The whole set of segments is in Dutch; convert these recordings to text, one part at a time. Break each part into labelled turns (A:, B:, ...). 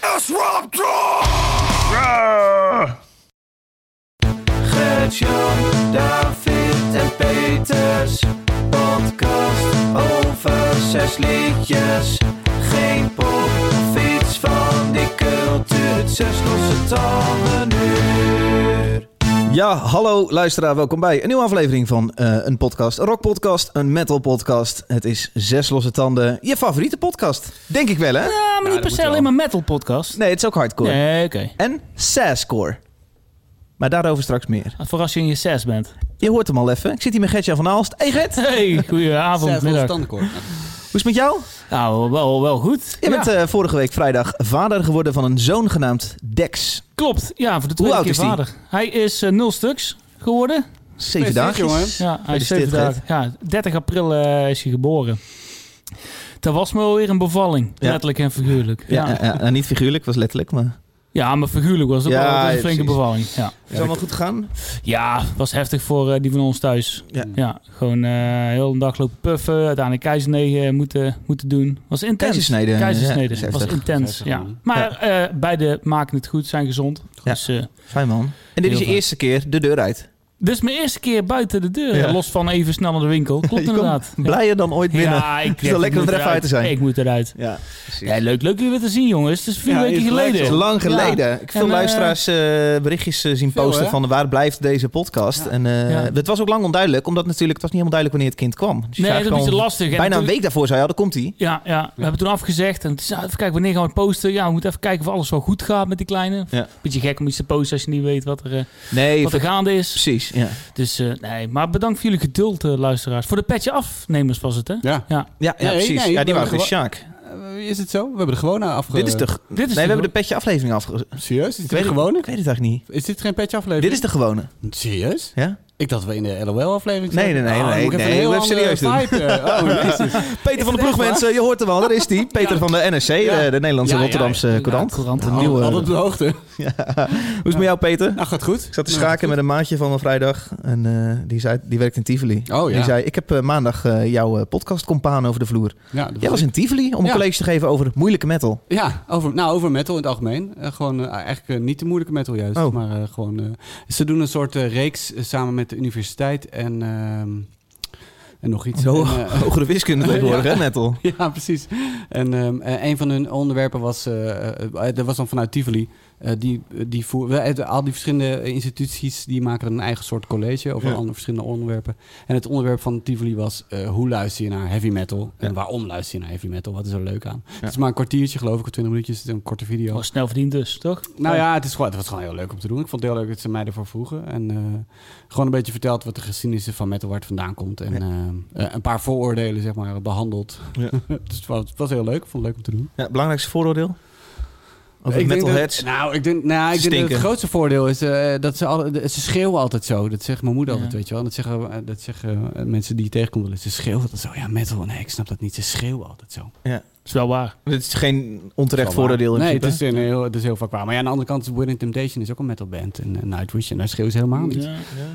A: Eh,
B: Disruptor! Gert-Jan, David en Peters. Podcast over zes liedjes. Geen pop, fiets van die cultuur. Zes losse tanden uur.
C: Ja, hallo luisteraar, welkom bij een nieuwe aflevering van eh, een podcast. Een rockpodcast, een metalpodcast. Het is Zes Losse Tanden, je favoriete podcast. Denk ik wel, hè?
D: Ja, Eh, maar niet per
B: moet
D: se
B: wel.
D: alleen maar metal podcast.
C: Nee, het is ook hardcore.
D: Nee, oké.
C: En sasscore. Maar daarover straks meer.
D: Vooral als je in je zes bent.
C: Je hoort hem al even. Ik zit hier met Gertje van Aalst. Hey Gert, hoe
D: Hey, goedenavond, middag.
C: is het met jou?
D: Nou, wel, wel goed.
C: Je
D: Ja,
C: bent eh, vorige week vrijdag vader geworden van een zoon genaamd Dex.
D: Klopt, ja, voor de tweede
C: eh, oud
D: keer
C: is die?
D: vader. Hij is eh, nul stuks geworden.
C: Zeven dagen.
D: Ja, hij is
C: Gefeliciteerd,
D: zeven dagen. Ja, 30 april eh, is hij geboren. Dat was me alweer een bevalling,
C: Ja.
D: letterlijk en figuurlijk.
C: Ja,
D: Ja,
C: ja.
D: ja.
C: ja, en niet figuurlijk, was letterlijk, maar...
D: maar figuurlijk was het ook
C: Ja,
D: wel een
C: ja,
D: flinke
C: precies.
D: bevalling. Ja.
C: Is allemaal goed gegaan?
D: ja, was heftig voor eh, die van ons thuis.
C: Ja.
D: Ja, gewoon eh heel een dag lopen puffen, uiteindelijk keizernee eh, moeten, moeten doen. Was intens.
C: Keizersnede. Ja,
D: Keizersnede.
C: dat is
D: was
C: heftig.
D: intens,
A: Heftig,
D: ja.
A: man.
D: Maar eh beide maken het goed, zijn gezond.
C: Ja.
D: Dus, eh,
C: Fijn man. En dit
D: Heel
C: is je
D: fijn.
C: eerste keer de deur uit.
D: dit is mijn eerste keer buiten de deur.
C: Ja.
D: Los van even snel naar de winkel. Klopt
C: Je komt
D: inderdaad. Ja.
C: Blijer dan ooit binnen.
D: Ja, ik
C: wel lekker om er even uit te zijn.
D: Ik moet eruit.
C: Ja,
D: Ja, leuk, leuk jullie weer te zien, jongens. Het is vier
A: Ja,
D: weken
A: is leuk,
D: geleden.
C: Het is lang geleden. Ik heb veel
D: En, eh,
C: luisteraars eh, berichtjes eh, zien
A: veel,
C: posten
A: hè?
C: van waar blijft deze podcast. En eh,
D: Ja.
C: het was ook lang onduidelijk, omdat natuurlijk het was niet helemaal duidelijk wanneer het kind kwam. Dus je
D: Nee,
C: zei
D: dat is een beetje
C: gewoon-
D: lastig. En
C: Bijna een
D: toen-
C: week daarvoor zei je, ja, daar komt hij.
D: Ja, ja, we hebben toen afgezegd. En het is, ja, even kijken, wanneer gaan we het posten? Ja, we moeten even kijken of alles wel goed gaat met die kleine.
C: Ja.
D: Beetje gek om iets te posten als je niet weet wat er, eh,
C: Nee,
D: wat er gaande is.
C: precies. Ja.
D: Dus eh, nee, maar bedankt voor jullie geduld, eh, luisteraars. Voor de petje afnemers was het, hè?
A: Ja.
C: Ja, ja,
A: Nee,
C: precies.
A: nee,
C: ja, die
A: we
C: waren dus
A: hebben
C: Sjaak.
A: Eh, Is het zo? We hebben de gewone afge...
C: Dit is de...
D: Dit is
C: nee, we
D: de-
C: hebben de petje aflevering afge...
A: Serieus? Is
C: Ik
A: dit de
C: weet-
A: gewone?
C: Ik weet het eigenlijk niet.
A: Is dit geen petje aflevering?
C: Dit is de gewone.
A: Serieus?
C: Ja?
A: Ik dacht we in de LOL-aflevering
C: Nee, nee, nee, nee, nee, nee, we hebben serieus doen.
A: Oh, jezus.
C: Peter van de Ploeg, mensen. Je hoort hem al. Daar is hij. Peter van de NSC, eh, de, de Nederlandse
A: Ja, ja,
C: Rotterdamse
D: ja,
C: courant.
D: courant.
C: Oh, De
D: Nou,
C: nieuwe...
A: Altijd op de hoogte.
C: Ja. Hoe is het met jou, Peter?
A: Nou, gaat goed.
C: Ik zat te schaken met een maatje van me vrijdag. En eh, die, zei, die werkt in Tivoli.
A: Oh, ja.
C: Die zei, ik heb eh, maandag eh, jouw eh, podcastcompaan over de vloer.
A: Ja, dat
C: Jij was
A: ik.
C: in Tivoli om een
A: Ja.
C: college te geven over moeilijke metal.
A: Ja, over, nou, over metal in het algemeen. Eh, gewoon eh, eigenlijk eh, niet de moeilijke metal juist,
C: Oh.
A: maar eh, gewoon... eh, ze doen een soort eh, reeks eh, samen met de universiteit en, ehm, en nog iets.
C: Zo,
A: En, eh,
C: hogere wiskunde tegenwoordig, hè, metal.
A: Ja, precies. En ehm, eh, een van hun onderwerpen was, eh eh, eh, dat was dan vanuit Tivoli. Eh, die, die voer, wel, eh, al die verschillende instituties die maken een eigen soort college over
C: Ja.
A: andere verschillende onderwerpen. En het onderwerp van Tivoli was eh, hoe luister je naar heavy metal
C: Ja.
A: en waarom luister je naar heavy metal? Wat is er leuk aan?
C: Ja.
A: Het is maar een kwartiertje geloof ik, of twintig minuutjes, het is een korte video.
D: Was snel verdiend dus, toch?
A: Nou ja, het, is gewoon, het was gewoon heel leuk om te doen. Ik vond het heel leuk dat ze mij ervoor vroegen. En eh, gewoon een beetje verteld wat de geschiedenis is van metal, waar het vandaan komt. En
C: Ja.
A: eh, eh, een paar vooroordelen, zeg maar, behandeld.
C: Ja.
A: dus het was, het was heel leuk. Ik vond het leuk om te doen.
C: Ja, belangrijkste vooroordeel? Over
A: ik denk
C: metalheads.
A: dat- nou, ik denk, nou, ik denk dat
C: Stinken.
A: het grootste voordeel is eh, dat ze, al, de- ze schreeuwen altijd zo. Dat zegt mijn moeder
D: Ja.
A: altijd, weet je wel. En Dat zeggen, eh, dat zeggen eh, mensen die je tegenkomt. wel eens. Ze schreeuwen altijd zo. Ja, metal. Nee, ik snap dat niet. Ze schreeuwen altijd zo.
D: Is wel waar.
C: Dit is geen onterecht
A: Dat is wel
C: vooroordeel in
A: waar. Nee, het
C: principe.
A: is, een heel, het is heel vaak waar. Maar ja, aan de andere kant, Within Temptation is ook een metalband. En eh, Nightwish, en daar schreeuwen ze helemaal niet.
D: Ja.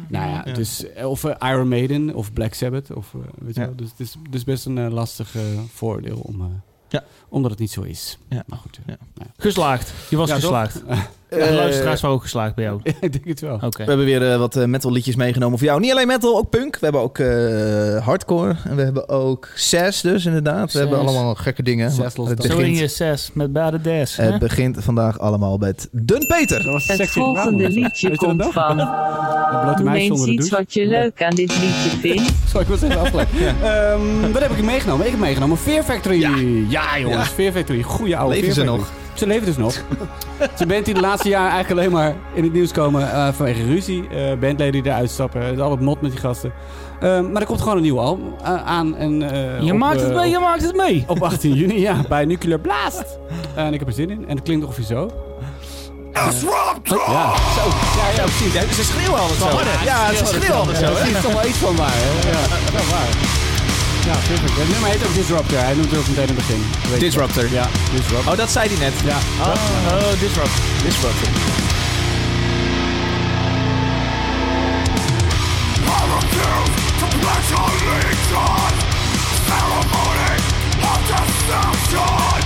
A: Nou ja, dus eh, of eh, Iron Maiden of Black Sabbath. Of, eh, weet je
C: Ja.
A: wel. Dus het is dus best een eh, lastig eh, voordeel om, eh,
C: Ja.
A: omdat het niet zo is.
C: Ja.
A: Maar goed, eh,
C: Ja.
D: Geslaagd. Je was
A: Ja, toch?
D: geslaagd. de
C: Eh,
D: luisteraars waren ook geslaagd bij jou.
A: eh. ik denk het wel.
C: We
D: Oké.
C: hebben weer eh, wat eh, metal liedjes meegenomen voor jou. Niet alleen metal, ook punk. We hebben ook eh, hardcore. En we hebben ook zes dus inderdaad. We
D: Zes.
C: hebben allemaal gekke dingen.
A: Zes
C: Maar
A: losse
C: het
A: tanden.
D: Zo in je
C: begint,
D: zes met Bade Des.
A: Eh,
D: hè?
C: het begint vandaag allemaal met Dun Peter.
A: Dat was
E: Het
A: sexy.
E: volgende
A: Waarom?
E: liedje
A: Weet je dat
E: komt
A: nog?
E: van.
A: Een blote
E: Noem
A: meid
E: eens
A: zonder de
E: iets
A: douche.
E: wat je leuk aan dit liedje vindt.
A: Zo, ik was even afgeleid. Ehm, wat heb ik meegenomen? Ik heb meegenomen Fear Factory. Ja, jongens. Fear Factory. Goeie oude
C: Leven
A: Fear
C: ze
A: Factory. Ze leven dus nog. Ze band die de laatste jaren eigenlijk alleen maar in het nieuws komen eh, vanwege ruzie. eh bandleden die eruit stappen. Het is altijd mot met die gasten. Ehm, maar er komt gewoon een nieuw album eh, aan. En, eh,
D: je
A: op,
D: maakt het
A: eh,
D: mee, je maakt het mee.
A: Op, op 18 juni, ja. Bij Nuclear Blast. en ik heb er zin in. En het klinkt ongeveer zo. Eh,
B: Disruptor!
A: Ja, zo. Ja, ja, precies. Ja,
C: Ze schreeuwen altijd zo. Ja, ze schreeuwen altijd
A: Ja,
C: zo.
A: precies. Toch wel iets van waar, hè? Ja, wel waar. Ja, perfect. Het nummer heet ook Disruptor. Hij noemt het ook meteen in het begin. Weet je
C: Disruptor.
A: wel. Ja, Disruptor.
C: Oh, dat zei hij net.
A: Ja.
C: Oh, Disruptor. Disruptor.
B: I refuse to pledge allegiance. Ceremony of destruction.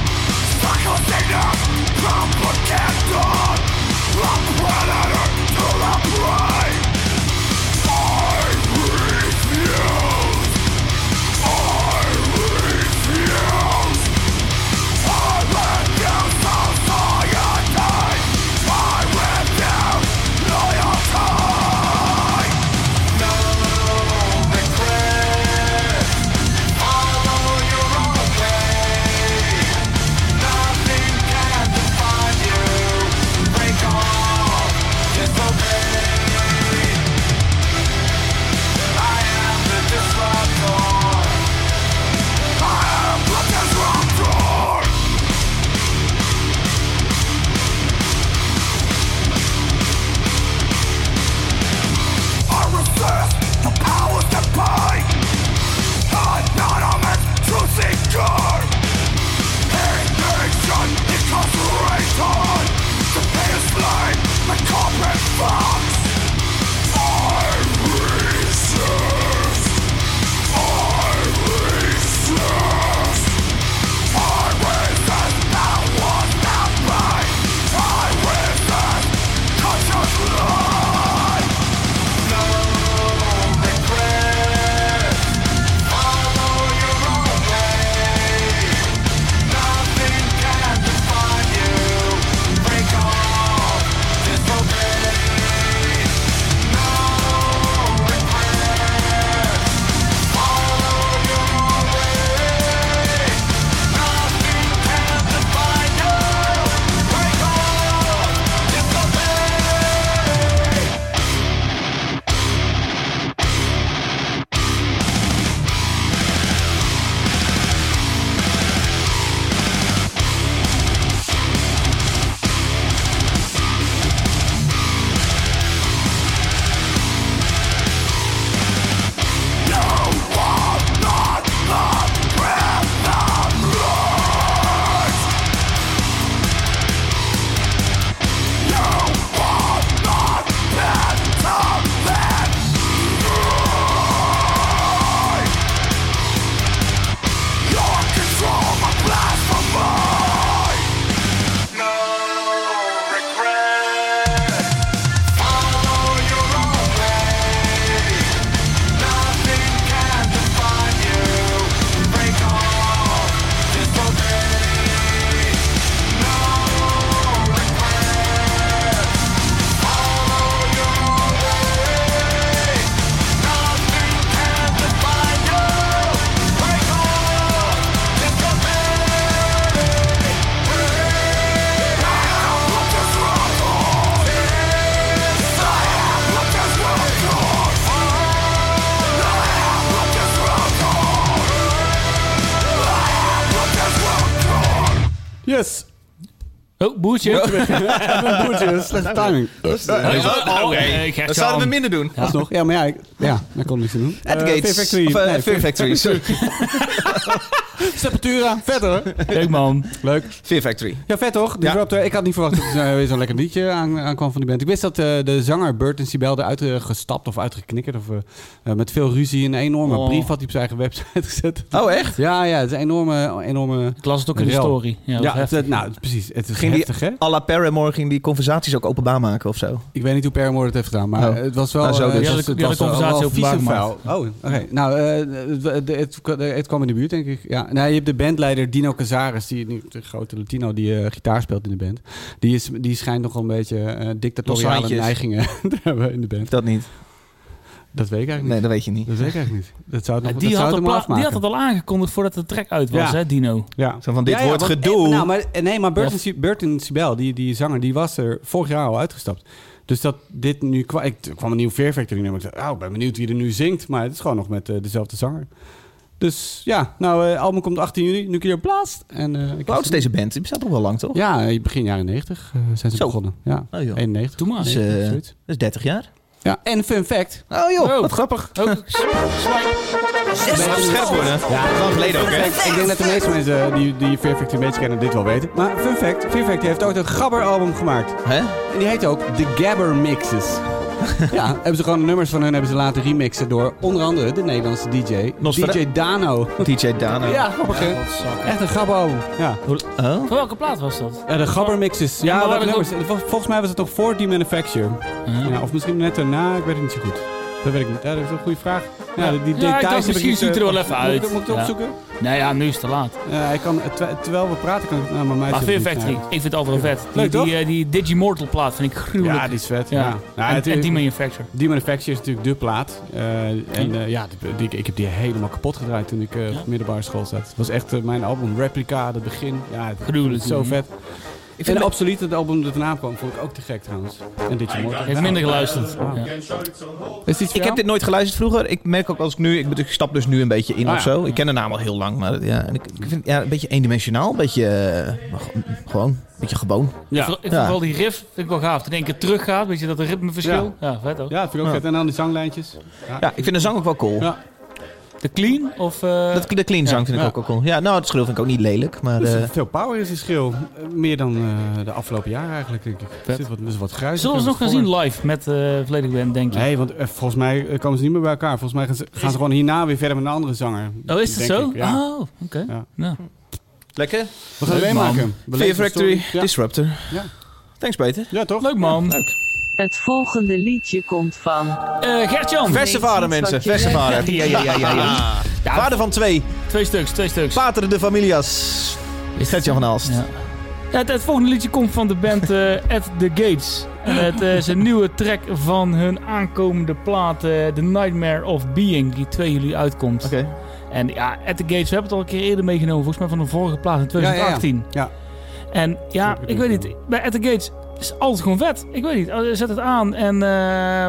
B: Sacrificing them, company.
A: Yes!
D: Oh, boertje.
A: Mijn boertje, slechte timing.
D: Oh,
C: Oké.
D: eh, ik
C: Dan
D: krijg
C: zouden we
D: zalm.
C: minder doen.
A: Alsnog, ja, maar ja, ik, ja, daar kon niks aan doen.
C: At the
A: Eh,
C: Gates.
A: Fear Factory.
C: Of, eh,
A: Nee,
C: Fear Factory, sorry.
A: Sepultura, vet hoor.
D: Leuk man.
A: Leuk.
C: Fear Factory.
A: Ja, vet toch?
C: Ja.
A: Disruptor. Ik had niet verwacht dat er eh, weer zo'n lekker liedje aan, aankwam van die band. Ik wist dat eh, de zanger Burton Sibel eruit eh, gestapt of uitgeknikkerd. Of, eh, eh, met veel ruzie. Een enorme
D: Oh.
A: brief had hij op zijn eigen website gezet.
C: Oh, echt?
A: Ja, ja, het is een enorme... enorme
D: Ik las het ook in de
A: Rel.
D: story. Ja,
A: ja,
D: dat was
A: het,
D: heftig.
A: eh, nou, precies. Het is
C: Ging die-
A: heftig, hè?
C: À la Paramore ging die conversaties ook openbaar maken of zo.
A: Ik weet niet hoe Paramore het heeft gedaan, maar
C: Oh.
A: het was wel...
C: Nou, zo
A: eh,
C: dus.
A: het
C: Ja,
A: was-
D: de-
A: het
D: ja, de
A: was wel-
D: conversatie
A: wel
D: openbaar
A: vies en
D: gemaakt.
A: vuil. Oh, oké. Nou, eh, het, het- het- het kwam in de buurt, denk ik. Ja. Nou, je hebt de bandleider Dino Cazares, die, nu- de grote Latino die eh, gitaar speelt in de band. Die, is, die schijnt nogal een beetje eh,
C: Losse
A: dictatoriale
C: handjes.
A: neigingen te hebben in de band.
C: Dat niet.
A: Dat weet ik eigenlijk
C: Nee,
A: niet.
C: dat weet je niet.
A: Dat weet ik eigenlijk niet. eh, Dat zou het nog
D: die,
A: dat zou
D: had
A: het
D: het pla-
A: hem afmaken.
D: die had het al aangekondigd voordat de track uit was,
A: Ja.
D: hè, Dino?
A: Ja.
C: Zo van, dit
A: Ja, ja,
C: wordt
A: want-
C: gedoe.
A: eh, nou, maar, eh, nee, maar Burton, Si- Burton Sibel, die, die zanger, die was er vorig jaar al uitgestapt. Dus dat dit nu kwam... Ik er kwam een nieuw Fear Factory nummer. Ik dacht, oh, ik ben benieuwd wie er nu zingt. Maar het is gewoon nog met eh, dezelfde zanger. Dus ja, nou, eh album komt 18 juni. Nuclear Blast. En, eh, ik
C: Hoe oud is deze band? Die bestaat al wel lang, toch?
A: Ja, eh, begin jaren 90 eh, zijn ze
C: Zo.
A: begonnen. Ja,
C: Oh, joh.
A: 91.
D: Doe maar.
C: Dus,
A: Nee,
C: eh,
A: zoiets.
C: Dat is 30 jaar.
A: Ja, en fun fact.
C: Oh joh,
D: Oh.
C: wat grappig.
D: Oh, swipe.
C: Scherp worden. Ja, lang geleden ook, hè?
A: Ik denk dat de meeste mensen eh, die, die Fear Factory een beetje kennen dit wel weten. Maar fun fact, Fear Factory heeft ooit een gabber-album gemaakt.
C: Hè?
A: En die heet ook The Gabber Mixes. ja, hebben ze gewoon de nummers van hun hebben ze laten remixen door onder andere de Nederlandse DJ,
C: Nosfera-
A: DJ Dano.
C: DJ Dano.
A: Ja, grappig hè? Echt een gabbal. Ja.
C: Oh.
D: Van welke plaat was dat?
A: de Gabber Mixes.
D: Ja,
A: Ja,
D: maar waar
A: welke nummers?
D: ik
A: Vol- Volgens mij was het toch voor die Manufacture. Ja, of misschien net daarna, ik weet het niet zo goed. Dat weet ik niet. Ja, dat is een goede vraag. Ja, die
D: ik
A: details
D: dacht,
A: heb
D: misschien
A: niet,
D: ziet het er wel
A: eh,
D: even
A: moet ik-
D: uit.
A: Moet ik het
D: Ja.
A: opzoeken?
D: Nou ja, nu is het te laat.
A: Ja, ik kan, ter- terwijl we praten kan ik het naar mijn muis
D: Maar Fear
A: even niet
D: Factory, ik vind het altijd wel vet. Die,
A: Leuk, toch?
D: die, eh, die Digimortal plaat vind ik
A: snijden.
D: gruwelijk.
A: Ja, die is vet.
D: Ja.
A: Ja. Ja,
D: en, en
A: natuurlijk-
D: die Manufacture.
A: Die Manufacture is natuurlijk de plaat. Eh, en eh, ja, die- die- ik heb die helemaal kapot gedraaid toen ik eh, op middelbare school zat. Het was echt eh, mijn album Replica, het begin. Ja, het
D: Gruwelijk,
A: Zo
D: man.
A: vet.
C: Ik
A: en
C: vind het
A: absoluut het album dat erna kwam, vond ik ook te gek trouwens. En dit je Ah.
D: Ik heb minder geluisterd. Ja.
A: Is dit
C: ik heb dit nooit geluisterd vroeger. Ik merk ook als ik nu... Ik, bedoel, ik stap dus nu een beetje in
A: Ah,
C: of
A: ja.
C: zo. Ik ken de naam al heel lang. Maar ja, en ik, ik vind het ja, een beetje eendimensionaal. Een beetje... eh, maar gewoon- gewoon. Een beetje gewoon.
D: Ik
A: Ja.
D: vond- Ik
C: Ja.
D: vond wel die riff vind ik wel gaaf. Toen één keer teruggaat, weet je dat ritmeverschil? Ja, vet ook.
A: Ja, dat vind ik ook
C: Ja.
A: vet. En dan die zanglijntjes.
C: Ja, ik vind de zang ook wel cool.
A: Ja.
D: De clean of... eh,
C: Dat, de clean zang vind ik
A: Ja.
C: ook wel cool. Ja, nou, het schreeuw vind ik ook niet lelijk. Maar
A: Er
C: eh,
A: zit veel power in zijn schil. Eh, Meer dan eh, de afgelopen jaren eigenlijk, denk ik. Er
D: Vet.
A: zit wat, er is wat gruis.
D: Zullen we ze nog gaan
A: Voor-
D: zien live met eh volledig band, denk je?
A: Nee, want eh, volgens mij eh, komen ze niet meer bij elkaar. Volgens mij gaan ze, gaan ze gewoon hierna weer verder met een andere zanger.
D: Oh, is dat
A: Denk
D: zo?
A: ik, ja.
D: Oh, oké.
A: Ja.
D: Nou.
C: lekker.
A: We gaan het
D: Leuk,
A: meemaken.
C: Fear
A: Beleef de
C: Factory,
A: story. Ja.
C: Disruptor.
A: Ja.
C: Thanks, Peter.
A: Ja, toch?
D: Leuk man.
E: Het volgende liedje komt van.
D: Eh, Gert-Jan.
C: Verse vader,
E: iets wat
C: mensen.
E: je
C: Verse
E: leuk
C: vader.
D: Ja, ja, ja, ja, ja. Ja,
C: Vader van twee.
D: Twee stuks, twee stuks.
C: Pater de Familias.
D: Is
C: Gert-Jan van Aalst.
D: Ja. Ja, het, het volgende liedje komt van de band eh, At The Gates. En het eh, is een nieuwe track van hun aankomende plaat eh, The Nightmare of Being, die 2 juli uitkomt.
C: Oké.
D: En ja, At The Gates, we hebben het al een keer eerder meegenomen, volgens mij van de vorige plaat in 2018.
A: Ja.
D: En ja, ik weet niet, bij At The Gates is alles gewoon vet. Ik weet niet, eh, zet het aan en eh,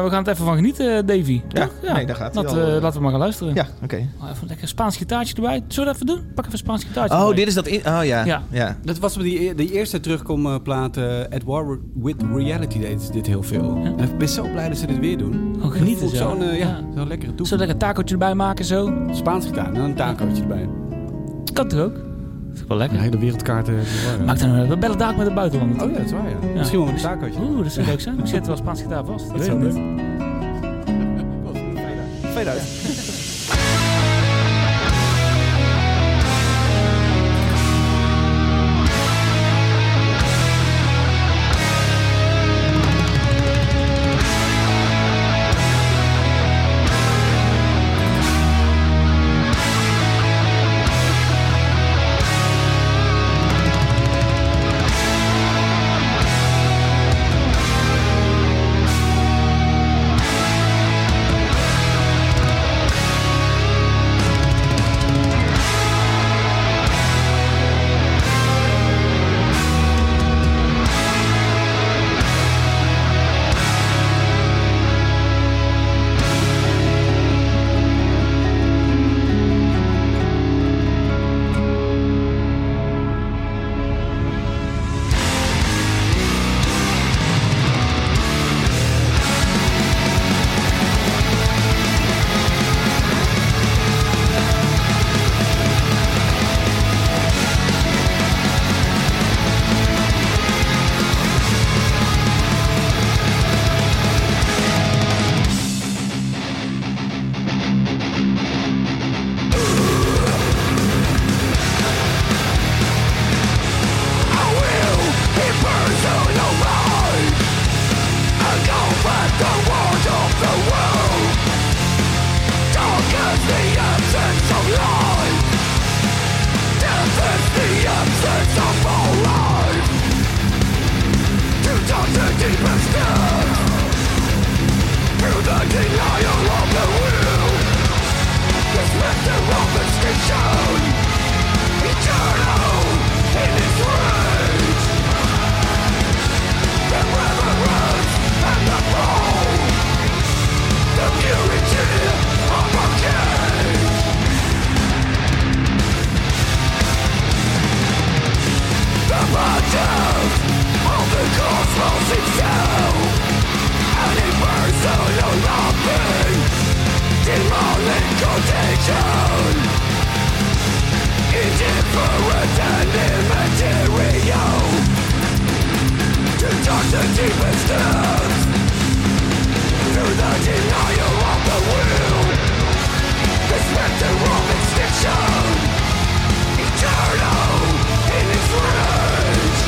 D: we gaan het even van genieten, eh, Davy.
C: Ja,
D: Toch?
C: nee, daar gaat hij
D: Dat,
C: al,
D: eh,
C: eh.
D: laten we maar gaan luisteren.
C: Ja, oké.
D: Oh, even een lekker Spaans gitaartje erbij. Zullen we dat even doen? Pak even een Spaans gitaartje
C: Oh,
D: erbij.
C: dit is dat... In oh, ja. ja.
D: Ja.
A: Dat was op die, die eerste terugkomplaat eh At War With Reality deed ze dit heel veel.
D: Ja.
A: En ik ben zo blij dat ze dit weer doen.
D: Oh, genieten
A: Voelt
D: zo.
A: Zo'n eh, ja,
D: Ja.
A: zo'n lekkere toe.
D: Zullen we lekker een tacootje erbij maken zo?
A: Spaans gitaar, nou een tacootje erbij.
D: Kan toch ook? Vind ik wel lekker.
A: Een hele wereldkaart. eh, voor, eh.
D: Maakt dan wel. We bellen daar ook met de buitenlander.
A: Oh ja, dat is waar ja. Misschien wel met een tacootje.
C: Oh.
D: Oeh, dat zou leuk zijn. Misschien zit er wel Spaans gitaar vast. Ik weet het
A: zou
D: niet.
A: leuk
C: Fijn uit.
B: Thank the robots can shown Eternal in its rage The reverence and the fall The purity of our cage The product of the cosmos itself An impersonal loving Demonic contagion Indifferent and immaterial To touch the deepest depths Through the denial of the will The specter of extinction Eternal in its rage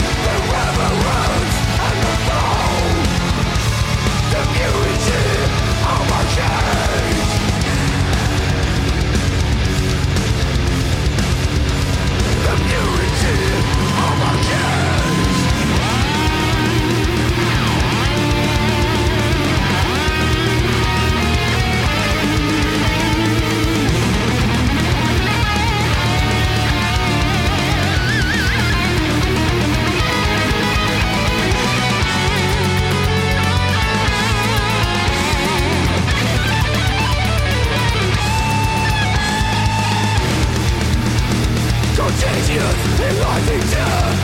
B: The reverence and the fall The purity of our cage The purity of our cage Contagious, enlightening death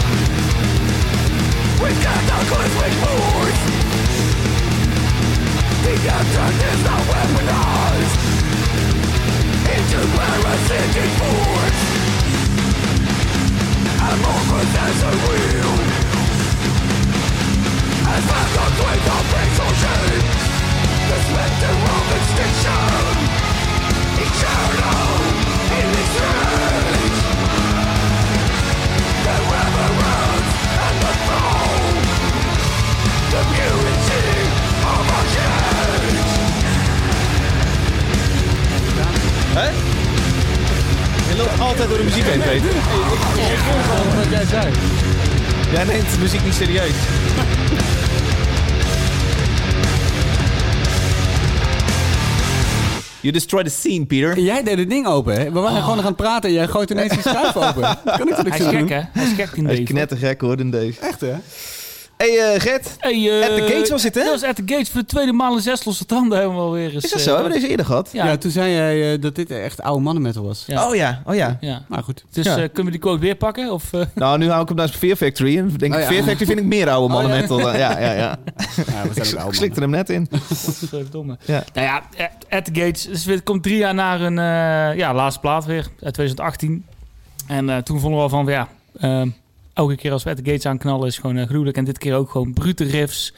B: With death our cosmic moors The abstract is now weaponized Into parasitic force Amorphous as a wheel As back on twin of facial shape The specter of extinction Eternal in its rage the reverence and the soul The purity of our cage
C: Hè? Je loopt altijd door de muziek heen, Peter.
D: Wat jij zei.
C: Jij neemt de muziek niet serieus. You destroy the scene, Peter.
A: Jij deed het ding open, hè? We waren gewoon nog aan het praten en jij gooit ineens die schuif open. Dat kan ik natuurlijk
D: Oh. Hij is
A: zo
D: gek,
A: doen.
D: hè? Hij is gek in
C: Hij
D: deze.
C: is knettergek hoor, in deze.
A: Echt, hè?
C: hey, eh, Gert.
D: Hey, eh,
C: At the Gates was het, hè?
D: Dat was At the Gates voor de tweede maal in zes losse tanden helemaal weer eens.
C: Is dat
D: eh,
C: zo? Hebben we deze eerder gehad?
A: Ja,
D: Ja,
A: toen zei jij eh, dat dit echt oude mannenmetal was.
D: Ja.
C: Oh ja, oh ja.
D: ja.
A: Maar goed.
D: Dus
C: Ja.
D: eh, kunnen we die quote weer pakken? Of, eh,
C: Nou, nu hou ik hem naar Fear Factory. En denk
A: Oh
C: ik,
A: ja.
C: Fear Factory vind ik meer oude mannen metal. dan- eh, Ja, ja, ja.
A: Ja, we
C: Ik
A: zijn ook oude
C: slikte hem net in.
D: Godverdomme.
C: Ja.
D: Nou ja, At- At the Gates. Dus het komt drie jaar na hun eh, ja, laatste plaat weer, uit 2018. En eh, toen vonden we al van, ja, ehm, elke keer als we At the Gates aanknallen is gewoon eh, gruwelijk. En dit keer ook gewoon brute riffs,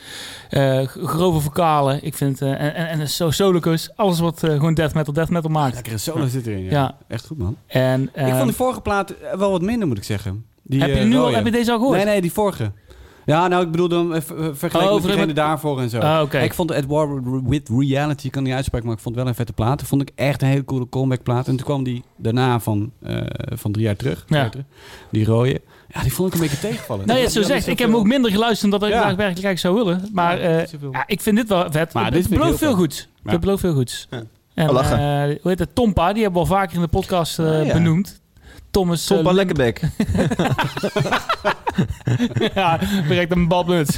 D: eh, g- grove vocalen. Ik vind, eh, en, en, en so solicus, alles wat eh, gewoon death metal, death metal maakt.
A: Lekkere eh, solo zit erin, ja.
D: Ja.
A: Echt goed, man.
D: En,
A: ik
D: ehm,
A: vond de vorige plaat eh, wel wat minder, moet ik zeggen. Die,
D: heb, je
A: eh,
D: nu al,
A: rode.
D: heb je deze al gehoord?
A: Nee, nee, die vorige. Ja, nou, ik bedoel dan eh, ver- eh, vergeleken
D: Oh,
A: met
D: ver-
A: degene daarvoor en zo.
D: Ah, oké.
A: Ik vond At War with Reality, ik kan niet uitspreken, maar ik vond het wel een vette plaat. Dat vond ik echt een hele coole comeback plaat. En toen kwam die daarna van, eh, van drie jaar terug,
D: Ja.
A: die rode. Ja, die vond ik een beetje tegenvallen.
D: Nou ja, zo zegt. Ik heb hem ook minder geluisterd dan dat ik
A: Ja.
D: graag werkelijk eigenlijk zou willen. Maar
A: Ja,
D: eh,
A: zoveel.
D: ja, ik vind dit wel vet.
A: Maar
D: het
A: dit vind ik
D: belooft
A: heel
D: veel
A: vet.
D: goeds.
A: Ja.
D: Het belooft veel goeds.
A: Ja.
D: En,
C: Oh, lachen.
D: eh, hoe heet het? Tompa, die hebben we al vaker in de podcast eh,
C: Ah, ja.
D: benoemd. Thomas. eh,
C: Top aan Lekkerbek.
D: ja, direct een balblut.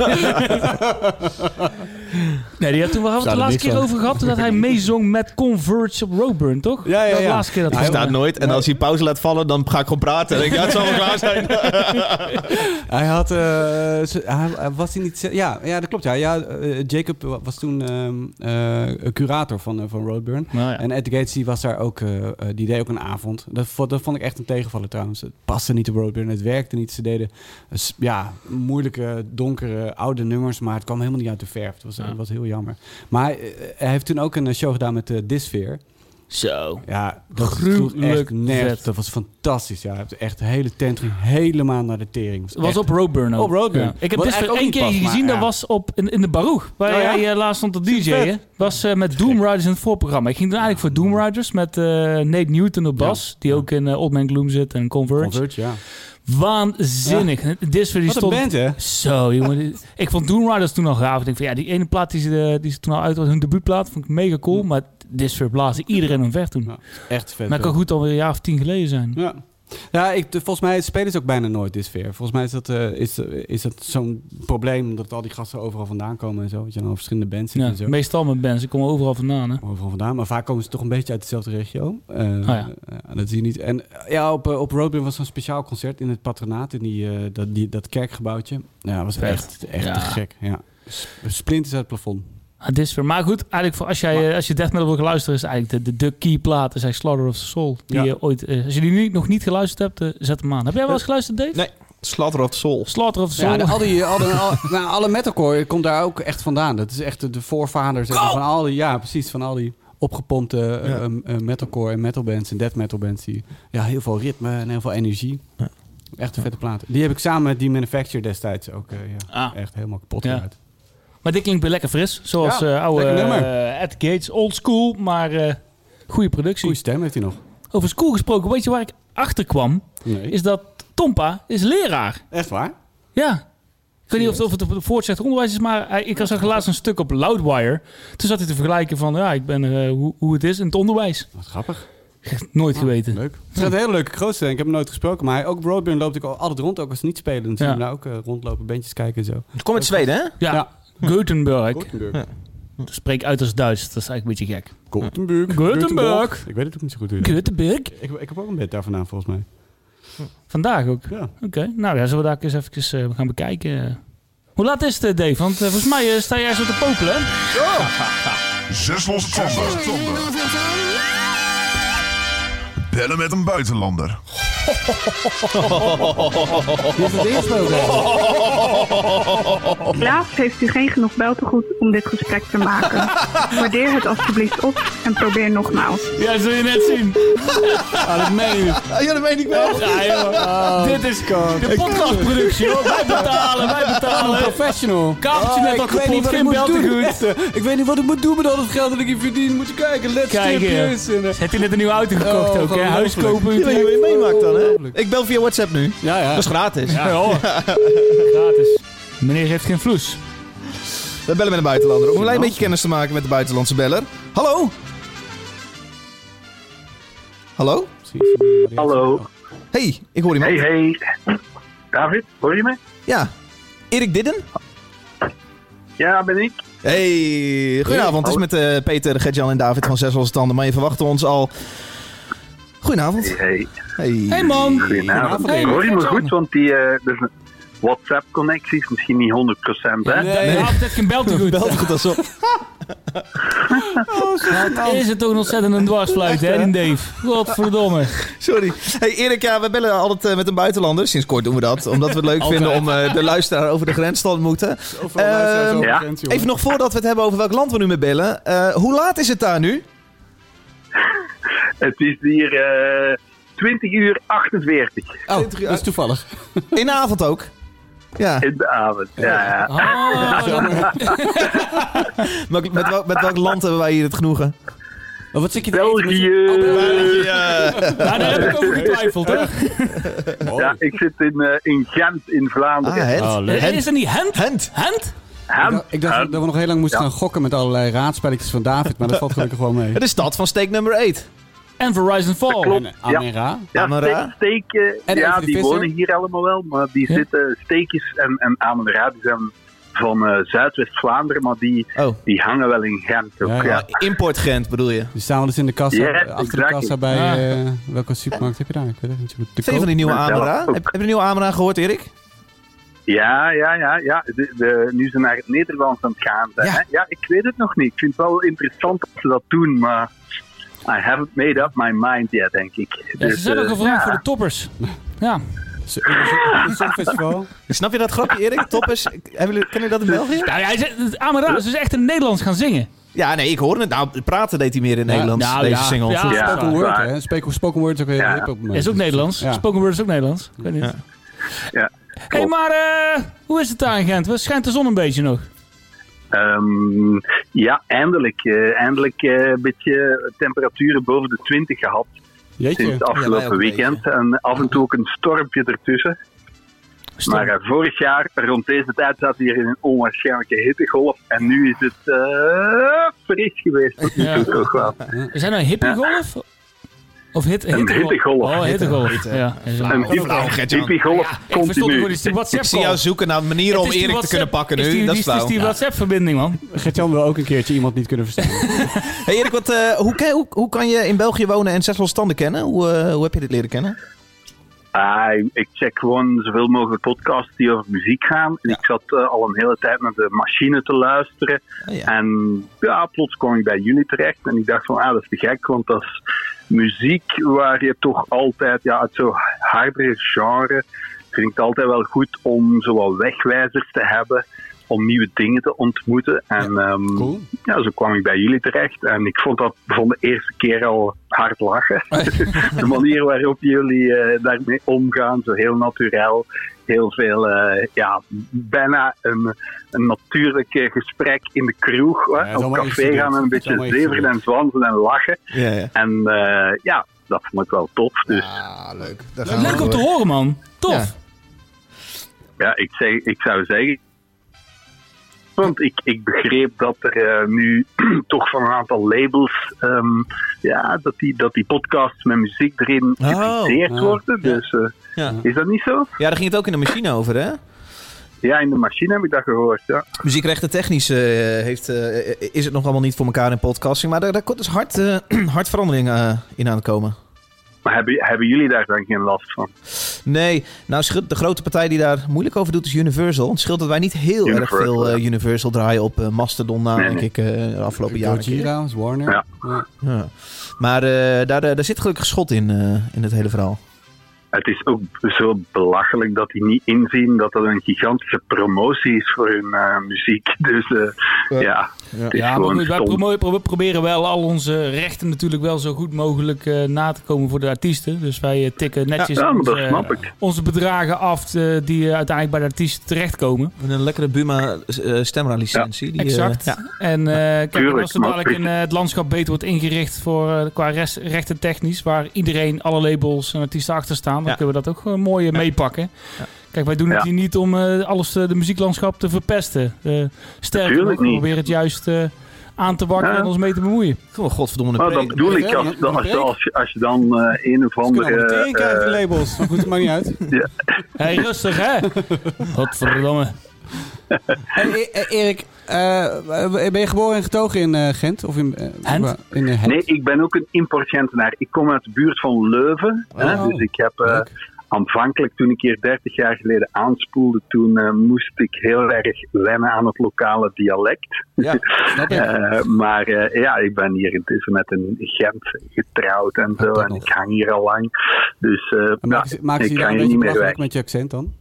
D: nee, die had toen, we hadden het de
C: er
D: laatste
C: niks
D: keer
C: van.
D: over gehad. Toen dat hij meezong met Converge op Roadburn, toch?
A: Ja, ja,
D: Dat was de
A: ja.
D: laatste keer dat
C: Hij
D: hij
C: staat
D: zong.
C: nooit. En als hij pauze laat vallen, dan ga ik gewoon praten. Ik, ja, het zal wel klaar zijn.
A: Hij had... eh, ze- hij, hij- was hij niet... ze- Ja, ja dat klopt. Ja, ja, eh, Jacob was toen ehm, eh, curator van, eh, van Roadburn.
D: Nou ja.
A: En Ed Gates die was daar ook, eh, eh, die deed ook een avond. Dat, vo- dat vond ik echt een tegenvaller trouwens. Het paste niet op Roadburn, het werkte niet. Ze deden eh, s- ja, moeilijke, donkere, oude nummers, maar het kwam helemaal niet uit de verf. Het was,
D: Ja.
A: het was heel jammer. Maar eh, hij heeft toen ook een show gedaan met eh Disfeer.
D: Zo.
A: Ja, dat
D: Gruwelijk
A: sloeg echt nergens.
D: vet.
A: Dat was fantastisch. Ja, hij heeft echt de hele tentrum helemaal naar de tering.
D: Het was
A: echt-
D: op Roadburn ook.
A: Op Roadburn.
D: Ja. Ik heb
A: Wat
D: dit
A: eigenlijk
D: voor
A: ook
D: één
A: niet
D: keer
A: past, maar
D: gezien. Dat
A: ja.
D: was op, in, in de Baruch. Waar
A: Oh ja?
D: jij eh, laatst stond te DJ'en. Was eh, met Doom Riders in het voorprogramma. Ik ging toen eigenlijk voor Doom Riders met eh, Nate Newton op bas. Die ook in eh, Old Man Gloom zit en Converge.
A: Converge, ja.
D: Waanzinnig. Dit is voor die
A: Wat een
D: stond...
A: band, hè?
D: Zo, jongen. dit- ik vond Doom Riders toen al gaaf. Ik denk van, ja, die ene plaat die ze, eh, die ze toen al uit was, hun debuutplaat, vond ik mega cool. Maar Disford blazen iedereen omver toen.
A: Ja, Echt vet.
D: maar dat kan goed alweer een jaar of tien geleden zijn.
A: Ja. Ja, ik, volgens mij spelen ze ook bijna nooit dit sfeer. Volgens mij is dat, eh, is, is dat zo'n probleem dat al die gasten overal vandaan komen en zo. Dat je dan op verschillende bands zit
D: Ja,
A: en zo.
D: meestal met bands. Ze komen overal vandaan, hè.
A: Overal vandaan, maar vaak komen ze toch een beetje uit dezelfde regio. Eh,
D: Oh ja.
A: eh, dat zie je niet. En eh, ja, op, eh, op Roadburn was zo'n speciaal concert in het patronaat, in die, eh, dat, die, dat kerkgebouwtje. Ja, dat was
D: Vet.
A: echt, echt
D: Ja.
A: te gek. Ja. S- Splinters uit het plafond.
D: Ah, Disford. Maar goed, eigenlijk voor als, jij, eh, als je death metal wil gaan luisteren, is het eigenlijk de, de, de key plaat is eigenlijk Slaughter of the Soul. Die
A: Ja.
D: je ooit, eh, als je die nu nog niet geluisterd hebt, eh, zet hem aan. Heb jij wel eens geluisterd, Dave?
C: Nee. Slatter of Soul.
D: Slaughter of the Soul.
A: Ja, de- al die, al die- al- nou, alle metalcore komt daar ook echt vandaan. Dat is echt de- de voorvader zeg maar, van al die, ja, precies, van al die opgepompte eh,
C: Ja.
A: eh, eh, metalcore en metalbands en death metalbands. Die, ja, heel veel ritme en heel veel energie.
C: Ja.
A: Echt een vette plaat. Die heb ik samen met die Manufacture destijds ook eh, ja,
D: Ah.
A: echt helemaal kapot
D: Ja.
A: gemaakt.
D: Maar dit klinkt weer lekker fris. Zoals
A: Ja,
D: eh, oude
A: lekker nummer.
D: eh, Ed Gates, old school, maar eh goede productie.
A: Goeie stem heeft hij nog.
D: Over school gesproken, weet je waar ik achter kwam?
A: Nee.
D: Is dat Tompa is leraar.
A: Echt waar?
D: Ja. Ik weet niet of het, of het op het voortgezet onderwijs is, maar hij- ik zag laatst een stuk op Loudwire. Toen zat hij te vergelijken van, ja, ik ben eh, hoe, hoe het is in het onderwijs.
A: Wat grappig.
D: Echt Nooit geweten.
A: Leuk. Het gaat een hele leuke groot zijn. Ik heb hem nooit gesproken, maar hij, ook Broadburn loopt ik al altijd rond, ook als niet spelen. Dan zie je
D: Ja.
A: hem daar ook eh, rondlopen, bandjes kijken en zo.
C: Kom uit Zweden, hè?
D: Ja,
A: Ja.
D: Gutenberg.
A: Gothenburg.
D: Dat Spreek uit als Duits, dat is eigenlijk een beetje gek.
A: Gothenburg.
D: Gothenburg.
A: Ik weet het ook niet zo goed hoe je dat-
D: Gutenberg.
A: Ik, ik heb ook een bed daar vandaan, volgens mij.
D: Vandaag ook.
A: Ja.
D: Oké, nou ja, zullen we daar eens even gaan bekijken. Hoe laat is het, eh, Dave? Want eh, volgens mij eh, sta jij zo te popelen. hè?
B: Zes losse tanden. Bellen met een buitenlander.
F: Helaas heeft u geen genoeg beltegoed om dit gesprek te maken. Waardeer het alstublieft op en probeer nogmaals.
D: Ja, dat zul je net zien. Ah,
A: dat meen je
C: Ah, ja, dat weet ik wel.
D: Ja, joh. Dit is
A: Oh,
D: de podcastproductie, hoor. Wij betalen, wij betalen.
A: Professional.
D: Kabeltje net al kapot, geen beltegoed.
A: eh, ik weet niet wat ik moet doen met al het geld dat ik hier verdien. Moet je kijken, let's
D: Kijk,
A: tipjes. En, eh,
D: Heb je net een nieuwe auto gekocht
A: Oh,
D: ook, hè?
A: gewoon
D: Huis
A: ongelooflijk.
D: kopen.
C: Je weet hoe je meemaakt dan,
A: Oh.
C: hè? Ik bel via WhatsApp nu.
A: ja, ja.
C: Dat is gratis.
D: Ja, hoor. Gratis. Meneer heeft geen vloes.
C: We bellen met een buitenlander. Om een klein beetje kennis te maken met de buitenlandse beller. Hallo? Hallo?
G: Hallo.
C: Hey, ik hoor iemand.
G: Hey, hey. David, hoor je me?
C: Ja. Erik Didden?
G: Ja, ben ik.
C: Hey, goedenavond. Het is met eh, Peter, Gertjan en David van Zes Losse Tanden. Maar je verwachtte ons al... Goedenavond.
G: Hey,
C: Hey.
D: Hé, man.
G: goedenavond.
D: Hey,
G: hoor je me
D: Gert-Jan.
G: goed? Want die eh, dus WhatsApp-connectie is misschien niet 100%, hè?
A: Nee,
D: Hij had net geen beltegoed.
C: Belt goed als op.
D: Is het toch een ontzettend een dwarsfluit, hè, die Dave? Godverdomme.
C: Sorry. Hey Erik, ja, we bellen altijd eh, met een buitenlander. Sinds kort doen we dat. Omdat we het leuk vinden om eh, de luisteraar over de grens te ontmoeten.
A: Zoveel luisteraars
C: Ehm,
A: over
G: ja.
A: de grens, jongen.
C: Even nog voordat we het hebben over welk land we nu mee bellen. eh, hoe laat is het daar nu?
G: Het is hier eh 20 uur 48
A: Oh, dat is toevallig.
C: In de avond ook. Ja.
G: in de avond. Ja, ja.
D: Oh, dat-
C: Welk- met, welk, met welk land hebben wij hier het genoegen?
A: Oh, wat zit je te eten?
G: België.
D: nou, daar heb ik over getwijfeld, hè?
G: Ja, ik zit in, eh, in Gent in
C: Ah,
G: Vlaanderen.
C: Hent.
A: Oh, leuk.
C: Hent.
D: Is dat niet Hent?
C: Hent.
D: Hent?
G: Gent.
A: Ik dacht- Ik dacht
G: Gent.
A: dat we nog heel lang moesten
G: Ehm, Ja.
A: gaan gokken met allerlei raadspelletjes van David, maar dat valt gelukkig gewoon mee.
C: Het is stad van steek nummer 8.
D: En Verizon Fall.
G: klopt.
A: En Amera.
G: Ja,
C: Amara.
G: steek, steek, eh,
A: En
G: ja
A: even de
G: die
A: visser.
G: wonen hier allemaal wel, maar die
D: Ja.
G: zitten steekjes en, en Amara, die zijn van eh, Zuidwest-Vlaanderen, maar die,
C: Oh.
G: die hangen wel in Gent ook.
A: Ja,
G: Ja,
A: ja.
C: Import Gent bedoel je?
A: Die staan wel eens in de kassa,
G: Yes,
A: achter de
G: exactly.
A: kassa bij...
D: Ja.
A: eh, welke supermarkt heb je daar? Ik weet het niet. De
C: Zijn je van die nieuwe
G: Ja,
C: Amara? Heb,
G: ook.
C: heb je de nieuwe Amara gehoord, Erik?
G: Ja, ja, ja. ja. De, de- nu ze naar het Nederlands aan het gaan zijn.
C: Ja.
G: hè. ja, ik weet het nog niet. Ik vind het wel interessant dat ze dat doen, maar I haven't made up my mind yet, denk ik.
D: Ja, ze zijn ook
G: eh,
D: gevraagd
G: ja.
D: voor de toppers. Ja.
A: Het Songfestival.
C: Snap je dat grapje, Erik? Toppers. Hebben jullie- Kennen jullie dat in België?
D: Nou, ja, hij zegt, Amara is dus echt in het Nederlands gaan zingen.
C: Ja, nee, ik hoorde het. Nou, praten deed hij meer in
A: Ja.
C: Nederlands,
D: Nou,
C: deze
D: ja.
C: single.
D: Ja.
G: Ja.
A: Spoken word,
G: waar.
A: hè? Spoken, spoken word is ook heel
G: Ja.
A: hip op het moment.
D: Is ook Nederlands.
A: Ja.
D: Spoken word is ook Nederlands. Ik weet niet.
C: Ja.
G: Ja,
D: Hé, hey,
G: klopt.
D: maar eh, hoe is het daar in Gent? Wat Schijnt de zon een beetje nog?
G: Ehm, ja, eindelijk. eh, eindelijk eh, een beetje temperaturen boven de 20 gehad.
A: Jeetje.
G: sinds het
C: Ja,
G: afgelopen
C: wij ook een
G: weekend. En af en toe ook een stormpje ertussen.
D: Stom.
G: Maar eh, vorig jaar, rond deze tijd, zaten we hier in een onwaarschijnlijke hittegolf. En nu is het eh, fris geweest. Dat
D: Ja.
G: is ook wel.
D: Is dat nou een hippiegolf? Of hit,
G: Een
D: hittegolf?
G: hittegolf.
D: Oh, hittegolf.
C: Hitte.
D: Ja, is wel-
G: Een
C: Oh, flauw,
G: hippie-
C: Gert-Jan.
G: hippiegolf
D: Ik verstond ook
G: continu.
D: wel eens die
C: Ik zie jou
D: WhatsApp-call.
C: zoeken naar manieren om Erik te kunnen pakken nu. dat is
D: Het is
C: flauw.
D: die WhatsApp-verbinding, man.
A: Gert-Jan wil ook een keertje iemand niet kunnen verstaan.
C: Hey Erik, wat, eh, hoe, ken- hoe, hoe kan je in België wonen en zes standen kennen? Hoe, eh, hoe heb je dit leren kennen?
G: Ah, ik check gewoon zoveel mogelijk podcasts die over muziek gaan. En ik zat eh, al een hele tijd naar de machine te luisteren.
C: Oh, ja.
G: En ja, plots kwam ik bij jullie terecht. En ik dacht van, ah, dat is te gek, want dat is muziek waar je toch altijd, ja, het zo hardere genre, vind ik het altijd wel goed om zowel wegwijzers te hebben, om nieuwe dingen te ontmoeten. En ehm,
A: Cool.
G: ja, zo kwam ik bij jullie terecht. En ik vond dat van de eerste keer al hard lachen. de manier waarop jullie eh, daarmee omgaan, zo heel naturel. Heel veel, eh, ja, bijna een, een natuurlijk eh, gesprek in de kroeg. hè.
A: Ja, dat is
G: Op
A: allemaal
G: café gaan
A: incident. Dat
G: en een
A: is
G: beetje
A: allemaal
G: zeveren
A: incident.
G: en zwansen en lachen.
C: Ja, ja.
G: En eh, ja, dat vond ik wel tof. Dus
C: Ah, leuk. Daar gaan we
D: Leuk om te
C: door.
D: horen, man. Tof.
G: ja, ik, zeg, ik zou zeggen. Want ik, ik begreep dat er eh, nu toch van een aantal labels. ehm, ja, dat die, dat die podcasts met muziek erin
C: Oh,
G: gepubliceerd
A: ja.
G: worden. Dus eh,
C: Ja.
G: is dat niet zo?
C: ja, daar ging het ook in de machine over, hè?
G: Ja, in de machine heb ik dat gehoord. Ja.
C: Muziekrechten technisch eh, heeft, eh, is het nog allemaal niet voor elkaar in podcasting. Maar daar, daar komt dus hard, eh, hard verandering eh, in aan het komen.
G: Maar hebben, hebben jullie daar dan geen last van?
C: Nee, nou scheelt- de grote partij die daar moeilijk over doet is Universal. Het scheelt dat wij niet heel
G: Universal,
C: erg veel eh,
G: ja.
C: Universal draaien op eh, Mastodon na,
G: Nee,
C: denk
G: nee.
C: ik, eh, de afgelopen jaren.
A: Gojira, Warner.
G: Ja.
C: Ja. Maar eh, daar, eh, daar zit gelukkig schot in, eh, in het hele verhaal.
G: Het is ook zo belachelijk dat die niet inzien dat dat een gigantische promotie is voor hun eh, muziek. Dus eh,
C: Ja.
G: ja.
C: Ja.
G: het is
D: Ja, maar
G: gewoon
D: goed, wij
G: stom.
D: promo- pro- we proberen wel al onze rechten natuurlijk wel zo goed mogelijk eh, na te komen voor de artiesten. Dus wij eh, tikken netjes
G: Ja, maar dat
D: onze,
G: snap ik.
D: onze bedragen af eh, die eh, uiteindelijk bij de artiesten terechtkomen.
C: Met een lekkere Buma eh, stemra-licentie. die, eh,
D: Exact.
C: ja.
D: En eh, kijk,
G: Tuurlijk,
D: als er
G: maar-
D: dadelijk in, eh, het landschap beter wordt ingericht voor, eh, qua res- rechten technisch, waar iedereen, alle labels en artiesten achter staan, dan
C: Ja.
D: kunnen we dat ook gewoon mooi eh, meepakken.
C: Ja.
D: Kijk, wij doen het
G: Ja.
D: hier niet om eh, alles eh, de muzieklandschap te verpesten. Eh sterker nog,
G: Natuurlijk
D: we
G: niet.
D: proberen het juist eh, aan te wakken
G: Ja.
D: en ons mee te bemoeien.
C: Gewoon godverdomme een
G: Nou, dat
C: preek.
G: bedoel ik.
A: hè?
G: Als,
A: Een
G: als,
A: preek?
G: als, je, als je dan eh, een of
A: Kunnen allemaal
G: andere.
A: meteen krijgen,
G: eh,
A: die labels. Maar goed, het maakt niet uit.
D: Hé, hey, rustig hè? Godverdomme.
A: Hey, E- E- Erik, eh, ben je geboren en getogen in eh, Gent? Of in, eh,
D: Gent?
A: In, eh, Gent?
G: nee, ik ben ook een importgentenaar. Ik kom uit de buurt van Leuven. Hè?
A: Oh,
G: Dus ik heb eh,
A: leuk.
G: aanvankelijk, toen ik hier 30 jaar geleden aanspoelde, toen eh, moest ik heel erg wennen aan het lokale dialect.
C: Ja.
A: Snap ik.
G: Eh, maar eh, ja, ik ben hier intussen met een Gent getrouwd en zo.
A: dat
G: en
A: nog.
G: ik hang hier al lang. Dus eh,
A: En
G: nou,
A: maken ze, maken ze
G: ik
A: je daar
G: ga
A: een beetje
G: hier niet meer weg.
A: belachelijk met je accent dan?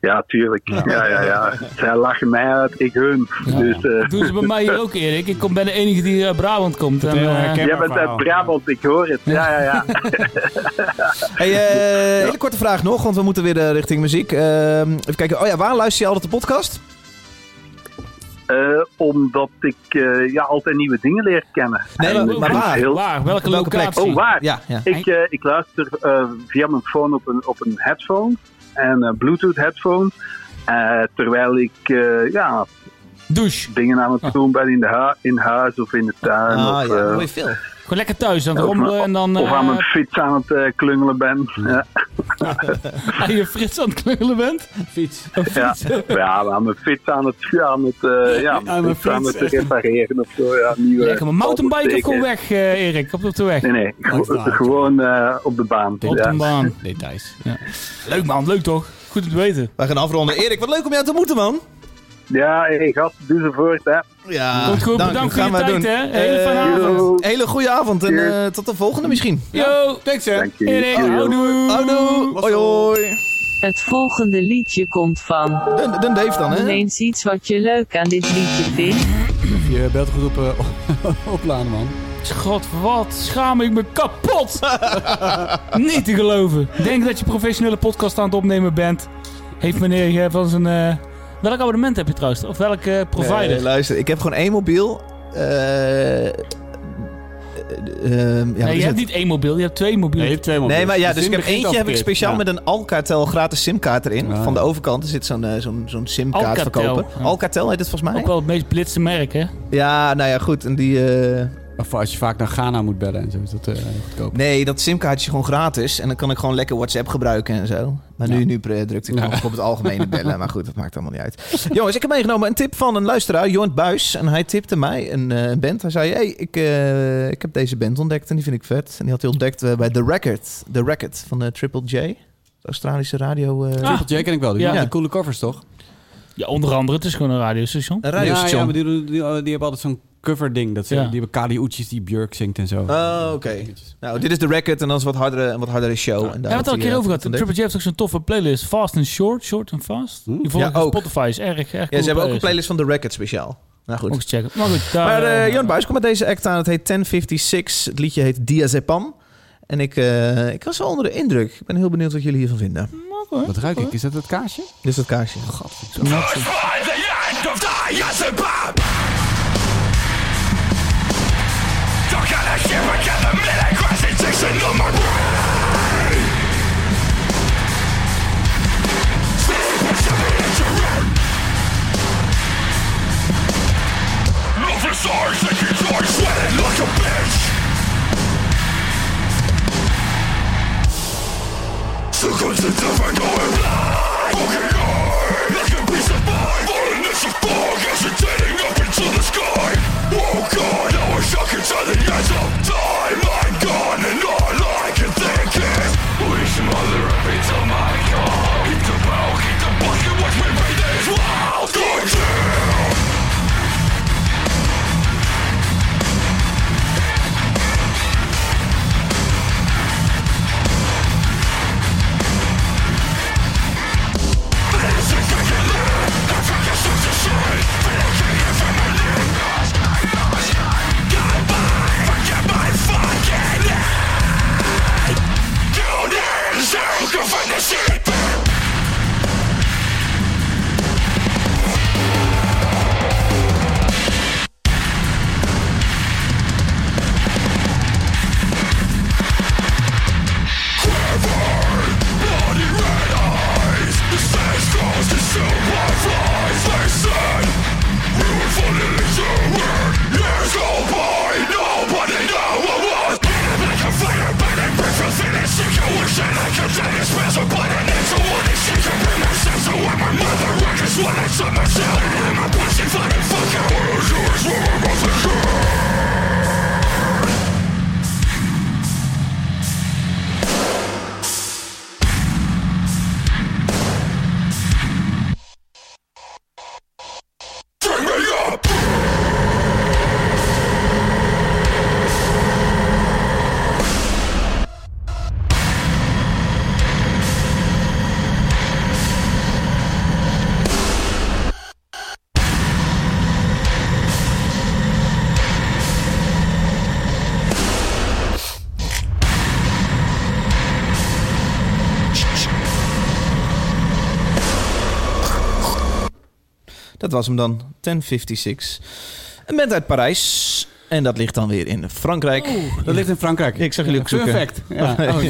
G: Ja, tuurlijk. Ja, ja, ja. Zij lachen mij uit, ik hun. Dus, eh,
D: Dat doen ze bij mij hier ook, Erik. Ik kom, ben de enige die uit Brabant komt. En,
A: heel
D: eh,
A: herkenbaar.
G: Jij bent uit
A: verhaal.
G: Brabant, ik hoor het. Ja, ja, ja.
C: Hey, eh, Hele korte vraag nog, want we moeten weer eh, richting muziek. Ehm, even kijken. Oh ja, waar luister je altijd de podcast?
G: Eh, omdat ik eh, ja, altijd nieuwe dingen leer kennen.
C: Nee,
G: En
C: maar-
G: ik
C: maar
G: vind
C: waar?
G: het heel-
D: Waar? Welke,
C: Welke plek?
D: locatie?
G: Oh, waar?
C: Ja, ja.
G: Ik, eh, ik luister eh, via mijn phone op een, op een headphone. En eh, Bluetooth headphone. Eh, terwijl ik eh, ja,
D: Douche.
G: dingen aan het doen ben in, de hui- in huis of in de tuin.
C: Ah
G: of,
C: ja,
G: eh,
C: hoor je veel.
D: Gewoon lekker thuis aan het
G: of-
D: rommelen en dan
G: of
D: eh,
G: aan mijn fiets aan het eh, klungelen ben. Ja.
D: aan je frits aan het klungelen bent. eh,
A: Fiets.
G: Ja, ja aan mijn fiets aan het, ja, aan het, eh, ja,
A: Aan mijn
G: fiets aan
A: fiets,
G: het
A: echt.
G: repareren of zo. Ja, nieuwe
D: Lekker mijn mountainbike of gewoon weg, eh, Erik? Op, op de weg.
G: Nee, nee,
A: Oh, is
G: gewo-
A: waar.
G: gewoon eh, op de baan.
D: Op
G: ja.
D: de baan.
A: Details.
D: Leuk man, leuk toch? Goed om te weten.
C: Wij gaan afronden. Erik, wat leuk om jou te ontmoeten, man.
G: ja, hey, gast, doe ze voort, hè.
C: Ja,
D: Komt goed,
C: dank.
D: bedankt voor
C: Gaan
D: je
C: wij doen.
D: tijd, hè. Hele fijne
C: Eh,
D: avond.
G: Yo.
C: Hele goede avond en
G: Cheers.
C: eh, tot de volgende misschien.
D: Yo,
A: Thanks, hè.
G: Dank je.
D: Erik.
G: Yo, yo.
D: Houdoe.
C: Houdoe. Hoi hoi.
E: Het volgende liedje komt van.
C: Dun, dun Dave dan,
E: Noem
C: hè?
E: eens iets wat je leuk aan dit liedje vindt.
A: Je belt goed op, eh, opladen, man.
D: God, wat schaam ik me kapot. Niet te geloven. Denk dat je professionele podcast aan het opnemen bent. Heeft meneer hier van zijn... eh, welk abonnement heb je trouwens? Of welke provider?
C: Nee, luister, ik heb gewoon één mobiel. Eh, ehm, eh, ja, wat is
D: nee, je hebt
C: het?
D: niet één mobiel, je hebt twee mobielen.
A: Nee, je hebt twee
C: Nee,
A: mobielen.
C: maar ja,
A: De
C: dus ik
A: zin
C: heb
A: begint
C: eentje
A: al
C: heb ik
A: verkeerd.
C: speciaal
A: Ja.
C: met een Alcatel gratis simkaart erin.
A: Ah.
C: Van de overkant er zit zo'n eh, zo'n zo'n simkaart
D: Alcatel.
C: verkopen.
D: Ja.
C: Alcatel heet het volgens mij.
D: Ook wel het meest blitse merk, hè?
C: Ja, nou ja, goed. En die, eh,
A: Of als je vaak naar Ghana moet bellen en zo, is dat eh, goedkoop.
C: Nee, dat simkaartje gewoon gratis. En dan kan ik gewoon lekker WhatsApp gebruiken en zo. Maar nu,
A: Ja.
C: nu eh, drukt ik nog op het algemene bellen. Maar goed, dat maakt allemaal niet uit. Jongens, ik heb meegenomen een tip van een luisteraar, Jorn Buis. En hij tipte mij een eh, een band. Hij zei, hey, ik, eh, ik heb deze band ontdekt en die vind ik vet. En die had hij ontdekt eh, bij The Record. The Record van eh, Triple J. De Australische radio... eh,
D: Ah.
A: Triple J ken ik wel, die
D: Ja.
A: ja. die coole covers toch?
D: Ja, onder andere, het is gewoon een radiostation.
C: Een
A: ja,
C: radiostation.
A: ja, maar die, doen- die, die hebben altijd zo'n cover ding. Dat ze,
D: Ja.
A: Die hebben Kali Uchis die Björk zingt en zo.
C: Oh, oké. Nou, dit is The Record en dan is wat hardere, een wat hardere show. En
D: Ja,
C: daar
D: we hebben het
C: had
D: al een
C: hij,
D: keer
C: eh,
D: over
C: wat
D: gehad.
C: ontdekt.
D: Triple J heeft ook zo'n toffe playlist. Fast and Short, Short and Fast. Die volg
C: Ja,
D: ik op
C: ook.
D: Spotify is Oh, erg, erg
C: Ja, ze hebben ook een
D: playlist.
C: playlist van The Record speciaal. Nou goed.
D: Moet ik eens checken. Maar goed, daar,
C: Maar eh
D: eh,
C: Jan Buijs komt met deze act aan. Het heet 1056. Het liedje heet Diazepam. En ik, eh, ik was wel onder de indruk. Ik ben heel benieuwd wat jullie hiervan vinden.
A: Wat ruik ik? Is dat het kaasje?
C: Dit is Nou, dat kaarsje.
B: By the end of the Yasubab! Don't get a shit, but get the minute crash injection on my brain! Sleep is a miniature! Over stars, taking charge, sweating like a bitch! Sequences of our going blind! Fucking hard! Like a piece of mind! Falling into some fog, hesitating up into the sky! Oh god, now we're stuck inside the eyes of time! I'm gone and all I can think is Wish mother a piece of my god! Keep the bow, keep the buck and watch me breathe this wild! Go kill! Bring me up!
C: Dat was hem dan. 1056. Een band uit Parijs. En dat ligt dan weer in Frankrijk.
D: Oh.
A: Dat ligt in Frankrijk.
C: Ik zag jullie ook zoeken.
A: Perfect. Ja.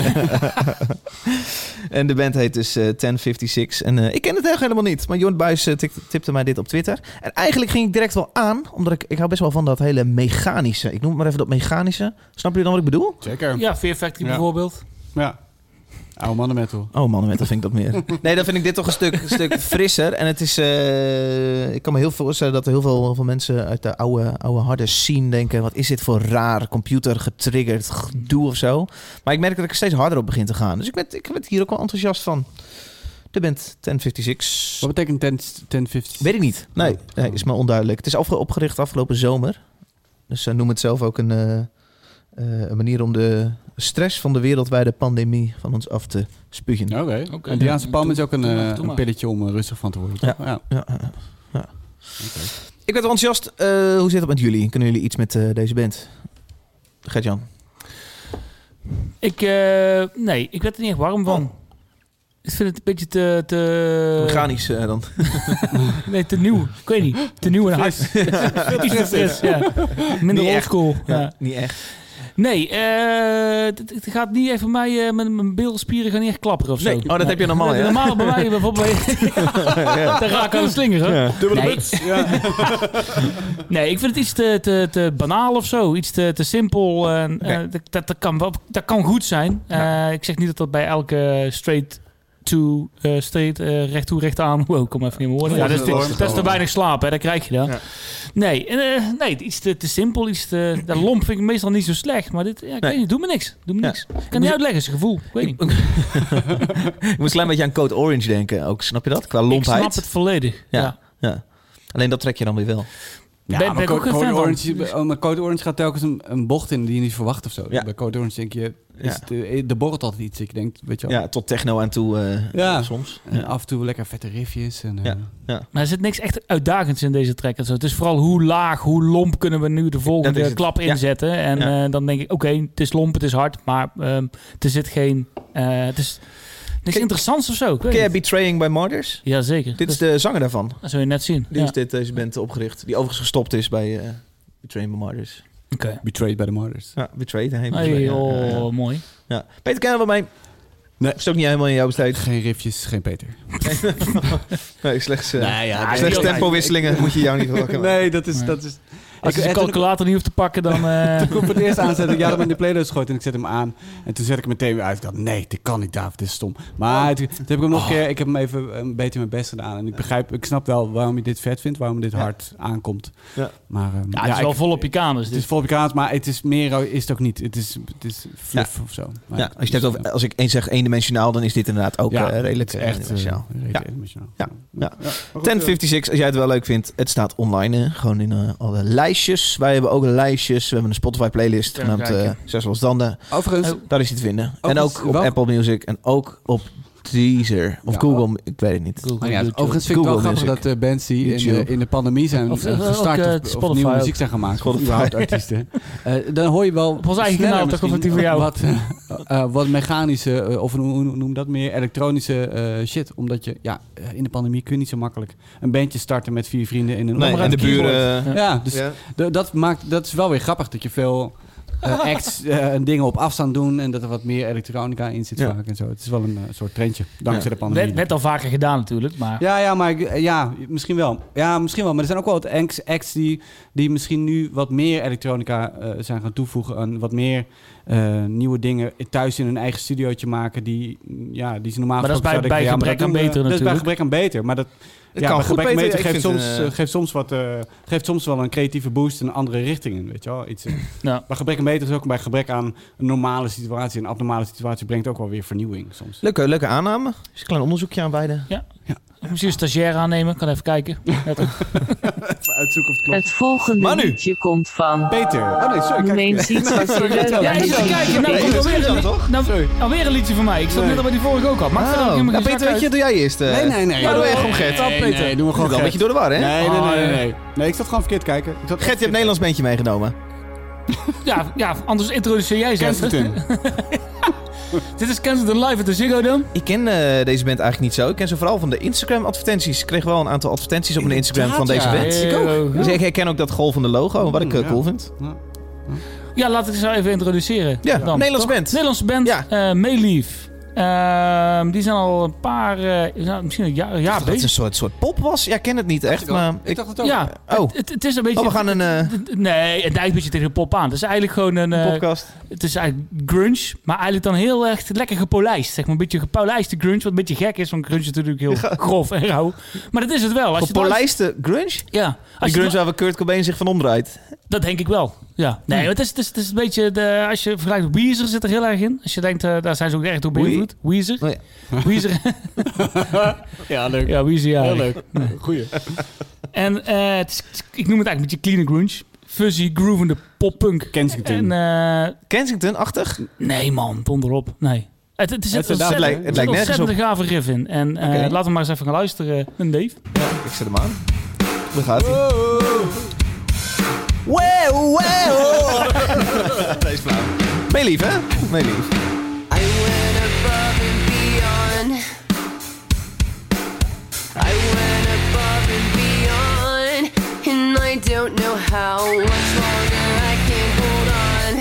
C: En de band heet dus eh, 1056. En eh, ik ken het echt helemaal niet. Maar Jorn Buijs eh, tik- tipte mij dit op Twitter. En eigenlijk ging ik direct wel aan. Omdat ik, ik hou best wel van dat hele mechanische. Ik noem het maar even dat mechanische. Snap je dan wat ik bedoel?
A: Zeker. Ja.
D: Ja, Fear Factory
A: Ja.
D: bijvoorbeeld.
A: Oude mannen metal.
C: Oh man, dan vind ik dat meer. Nee, dan vind ik dit toch een stuk, een stuk frisser. En het is... eh, ik kan me heel voorstellen dat er heel veel, heel veel mensen uit de oude, oude harde scene denken... wat is dit voor raar computer getriggerd gedoe of zo. Maar ik merk dat ik er steeds harder op begin te gaan. Dus ik ben, ik ben hier ook wel enthousiast van. De band 1056.
A: Wat betekent 10, 1050?
C: Weet ik niet. Nee, nee, is me onduidelijk. Het is afge- opgericht afgelopen zomer. Dus ze noemen het zelf ook een, eh, eh, een manier om de stress van de wereldwijde pandemie van ons af te spugen.
A: Oké.
D: Oké.
A: En Diaanse Palm is ook een,
D: Doe maar,
A: eh,
D: doe
A: een
D: maar.
A: pilletje om eh, rustig van te worden. toch? Ja.
C: Ja, ja, ja. Ik werd wel enthousiast. Eh, hoe zit het met jullie? Kunnen jullie iets met eh, deze band? Gert-Jan.
D: Ik, eh, nee, ik werd er niet echt warm van.
C: Oh.
D: Ik vind het een beetje te... te
C: Mechanisch eh, dan.
D: Nee, te nieuw. Ik weet niet. Te nieuw en hard. Iets te fris, ja. Minder
C: Niet echt.
D: oldschool. Ja.
C: Niet echt.
D: Nee, eh, het het gaat niet even mij, eh, mijn, mijn bilspieren gaan niet echt klapperen of zo.
C: Nee. Oh, dat heb je normaal,
D: Dat heb
C: hè?
D: je normaal bij mij bijvoorbeeld. Daar raak ik aan de slinger, hoor. Nee. nee, ik vind het iets te, te, te banaal of zo. Iets te, te simpel. En, eh, dat, dat, dat kan wel, dat kan goed zijn. Eh, ik zeg niet dat dat bij elke straight to eh, straight eh, recht toe recht aan. Wow, kom even niet meer woorden. Ja, dat, is, te- dat is te weinig slaap, hè. Dat krijg je dan. Nee, en, eh, nee, iets te, te simpel. Iets te, dat lomp vind ik meestal niet zo slecht. Maar dit, ja, ik
C: Nee.
D: weet niet, doe me niks. Doe me
C: Ja.
D: niks. Ik kan niet uitleggen, is een gevoel. Ik weet niet. Ik
C: Ik moest een klein beetje aan Code Orange denken ook. Snap je dat? Qua lompheid.
D: snap het volledig.
C: Ja.
D: Ja.
C: Ja. Alleen dat trek je dan weer wel.
A: Ja,
D: Ben- ben
A: maar
D: ik ook
A: Code-
D: geen
A: Code
D: fan van.
A: Orange, oh, maar Code Orange gaat telkens een, een bocht in die je niet verwacht of zo.
C: Ja.
A: Bij Code Orange denk je, is
C: Ja.
A: het, eh, de borrelt altijd iets. Ik denk, weet je wel.
C: Ja, tot techno aan toe eh,
A: Ja.
C: soms.
A: En af en toe lekker vette riffjes. En, eh,
C: Ja.
D: Maar er zit niks echt uitdagends in deze track. en zo. Het is vooral hoe laag, hoe lomp kunnen we nu de
C: Dat is
D: volgende
C: het.
D: klap
C: Ja.
D: inzetten. En
C: Ja.
D: eh, dan denk ik, oké, het is lomp, het is hard, maar ehm er zit geen... eh, het is niks
C: Ken-
D: interessants of zo. Ik weet
C: Ken jij
D: niet.
C: Betraying by Martyrs?
D: Jazeker.
C: Dit is de zanger daarvan.
D: Dat zul je net zien.
C: Die
D: Ja.
C: is dit, deze band opgericht. Die overigens gestopt is bij eh Betraying by Martyrs.
D: Oké.
A: Betrayed by the Martyrs.
C: Ja, Betrayed. Hij
D: Hey,
C: Betrayed, dus ja,
D: oh,
C: ja, ja.
D: mooi.
C: Ja. Peter Kennen van mij.
A: Nee.
C: Is ook niet helemaal in jouw besteed.
A: Geen riffjes, geen Peter.
C: Nee, slechts, eh,
A: Nou ja,
D: dat
C: slechts
D: is-
C: tempowisselingen moet je jou niet wakker maken.
A: Nee, dat is...
D: Nee.
A: Dat is
D: Als je de
A: eh, toen ik-
D: calculator niet hoeft te pakken, dan... eh,
A: toen ik hem voor het eerst aanzette, ik had hem in de playlist gegooid en ik zet hem aan. En toen zet ik hem meteen weer uit. Ik dacht, nee, dit kan niet, David, dit is stom.
C: Oh.
A: Maar toen, toen heb ik hem nog een keer, ik heb hem even eh, een beetje mijn best gedaan. En ik begrijp, ik snap wel waarom je dit vet vindt, waarom dit hard aankomt.
C: Ja.
A: Maar, ehm,
D: ja, het is wel
A: ik-
D: vol op je kamers.
A: Het is
D: Dus.
A: vol Amerikaans, maar het is meer oh, is het ook niet. Het is, het is fluff of zo. Maar dus, eh,
C: Ja, als, je het hebt over, als ik één zeg eendimensionaal, dan is dit inderdaad ook
A: Ja,
C: eh, redelijk
A: het is echt
C: eendimensionaal.
A: Ja.
C: Ja. Ja. Ja.
A: Ja. Maar goed, eh,
C: 1056, als jij het wel leuk vindt, het staat online, eh, gewoon in eh, alle lijstjes. Wij hebben ook lijstjes. We hebben een Spotify-playlist
D: Kunnen we
C: genaamd eh Zes Los Danden.
A: Overigens,
D: Oh.
C: Daar is hij te vinden. en
A: eens-
C: ook op
A: welk-
C: Apple Music en ook op Deezer of
A: Ja,
C: Google. Ik weet het niet.
A: maar ja, overigens vind ik
C: Google
A: wel grappig
C: Music.
A: dat eh, bands die in
C: YouTube.
A: de, in de pandemie zijn
D: Of,
A: eh,
D: eh,
A: gestart
D: ook, eh,
A: of- of,
D: Spotify
A: nieuwe
D: ook.
A: muziek zijn gemaakt,
C: Spotify.
A: of überhaupt artiesten, eh, dan hoor je wel
D: Op ons eigen
A: sneller
D: kanaal, toch? Of
A: misschien
D: het die voor jou?
A: Wat, eh, eh, wat mechanische, eh, of hoe hoe noem dat meer, elektronische eh, shit. Omdat je, ja, eh, in de pandemie kun je niet zo makkelijk een bandje starten met vier vrienden in een
C: Nee, en de
A: onderuit keyboard.
C: buren. eh,
D: Ja.
A: Ja, dus
C: Ja.
A: De- dat, maakt, dat is wel weer grappig dat je veel eh, acts eh, en dingen op afstand doen en dat er wat meer elektronica in zit
C: Ja.
A: vaak en zo. Het is wel een eh, soort trendje, dankzij
C: Ja.
A: de pandemie.
D: Werd, werd al vaker gedaan natuurlijk, maar...
A: Ja, ja, maar ik- eh, ja, misschien wel. Ja, misschien wel. Maar er zijn ook wel wat acts- acts die, die misschien nu wat meer elektronica eh, zijn gaan toevoegen. En wat meer eh, nieuwe dingen thuis in hun eigen studiootje maken. Die, ja, die ze normaal
D: Maar dat is bij-
A: zouden-
D: bij
A: ja, maar dat
D: gebrek aan
A: doen we-
D: beter
A: Dat is bij
D: natuurlijk.
A: gebrek aan beter. Maar dat,
C: Het
A: ja,
C: kan
A: bij
C: goed
A: gebrek aan
C: beter.
A: beter
C: Ik
A: geeft
C: vind,
A: soms,
C: eh,
A: eh, geeft soms wat, eh, geeft soms wel een creatieve boost een andere richting in. Weet je wel? Iets, eh.
D: Ja.
A: Bij gebrek aan beter is ook bij gebrek aan een normale situatie. Een abnormale situatie brengt ook wel weer vernieuwing soms.
C: Leuke, leuke aanname. Is een klein onderzoekje aan beide.
D: Misschien een stagiair aannemen, kan even kijken. Net als-
A: Even uitzoeken of het klopt.
E: Het volgende
C: Manu.
E: liedje komt van.
A: Peter. Oh nee, sorry.
E: Noem
A: kijk.
E: eens iets wat je leuk
D: Ja,
E: aan
D: ik
E: dit
D: zit te kijken.
E: liedje
D: Nou,
E: vindt.
D: komt alweer, een,
C: toch?
D: nou, alweer een liedje van mij. Ik zat net al bij die vorige ook al. Maakt het ook
C: Oh,
D: helemaal
C: nou,
D: geen
C: Peter,
D: zak
C: weet je,
D: uit.
C: doe jij eerst. eh.
A: Nee, nee, nee.
C: Ja, doe jij gewoon Gert.
A: Nee, nee, nee, doen we
C: Doe
A: gewoon
C: wel een
A: Gert.
C: beetje door de war, hè?
A: Nee, nee, nee, nee,
D: Ah,
A: nee. Nee, ik zat gewoon verkeerd kijken. Ik zat
C: Gert, je hebt een Nederlands bandje meegenomen.
D: Ja, ja, anders introduceer jij ze. even.
A: Kensington.
D: Dit is Kensington Live at the Ziggo Dome.
C: Ik ken eh, deze band eigenlijk niet zo. Ik ken ze vooral van de Instagram-advertenties. Ik kreeg wel een aantal advertenties op mijn Instagram van deze
A: ja.
C: band.
A: ik
D: Eh,
A: ook.
C: Dus ik herken ook dat golvende logo, wat ik eh,
A: Mm, ja.
C: cool vind.
D: Ja, laat ik ze zo even introduceren.
C: Ja, Nederlands band.
D: Nederlandse band,
C: Ja.
D: ja. Mayleaf. Ehm, die zijn al een paar, eh, nou, misschien een jaar, jaar
C: dat het een
D: bezig.
C: soort, soort pop was. Ja, ik ken het niet echt, maar...
A: Ik dacht het ook.
D: Ja,
C: Oh.
D: het, het is een beetje...
C: Oh, we gaan een eh,
D: Nee, het lijkt een beetje tegen de pop aan. Het is eigenlijk gewoon een... eh,
C: podcast.
D: het is eigenlijk grunge, maar eigenlijk dan heel erg lekker gepolijst. Zeg maar een beetje gepolijste grunge, wat een beetje gek is. Want grunge is natuurlijk heel grof en rauw. Maar dat is het wel. Als je het luistert-
C: Gepolijste grunge? Die
D: Ja. Als je het
C: grunge waar we Kurt Cobain zich van omdraait.
D: Dat denk ik wel. Ja. Nee, maar het is, het is, het is een beetje. De, als je vergelijkt, Weezer zit er heel erg in. Als je denkt, eh, daar zijn ze ook erg door beïnvloed. Weezer.
C: Oh
D: Weezer.
A: Ja, leuk.
D: ja, Weezer, ja.
A: Heel leuk. Goeie.
D: En eh, het is- het is- ik noem het eigenlijk een beetje clean grunge. Fuzzy, groovende poppunk. En,
A: Kensington.
D: eh,
C: Kensington-achtig?
D: nee, man, donderop. Nee. Het, het, is
A: Het- het
D: ontzettend-
C: lijkt- het lijkt
D: er zit
C: nergens op.
D: ontzettend een gave riff in. En eh,
C: Oké.
D: laten we maar eens even gaan luisteren. Een Dave.
C: Ik zet hem aan. Daar gaat hij. Dat is flauw. Meelief, hè? Meelief.
H: I went above and beyond. I went above and beyond, and I don't know how much longer I can hold on.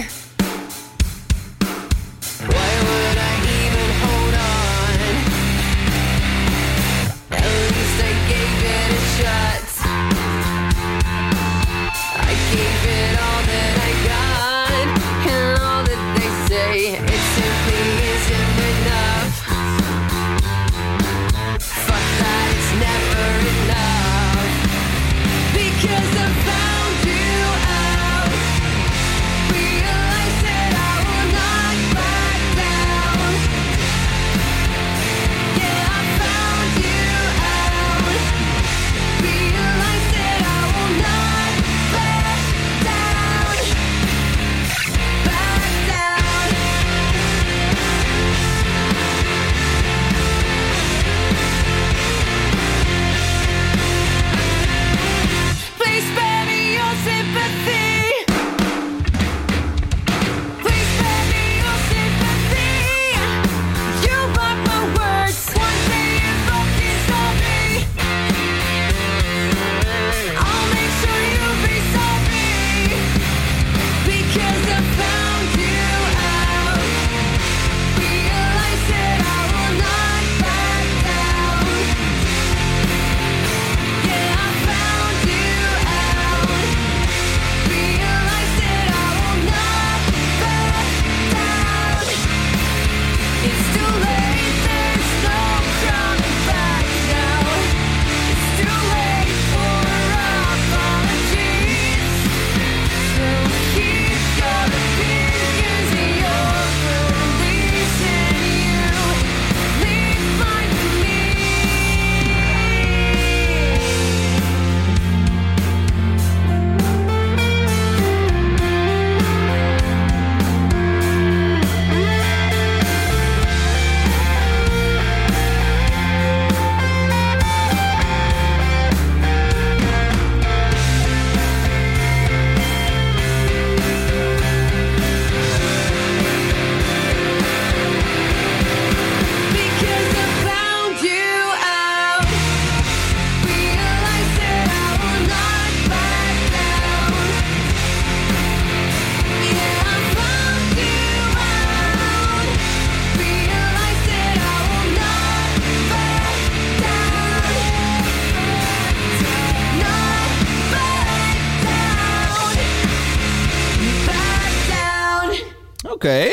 D: Oké.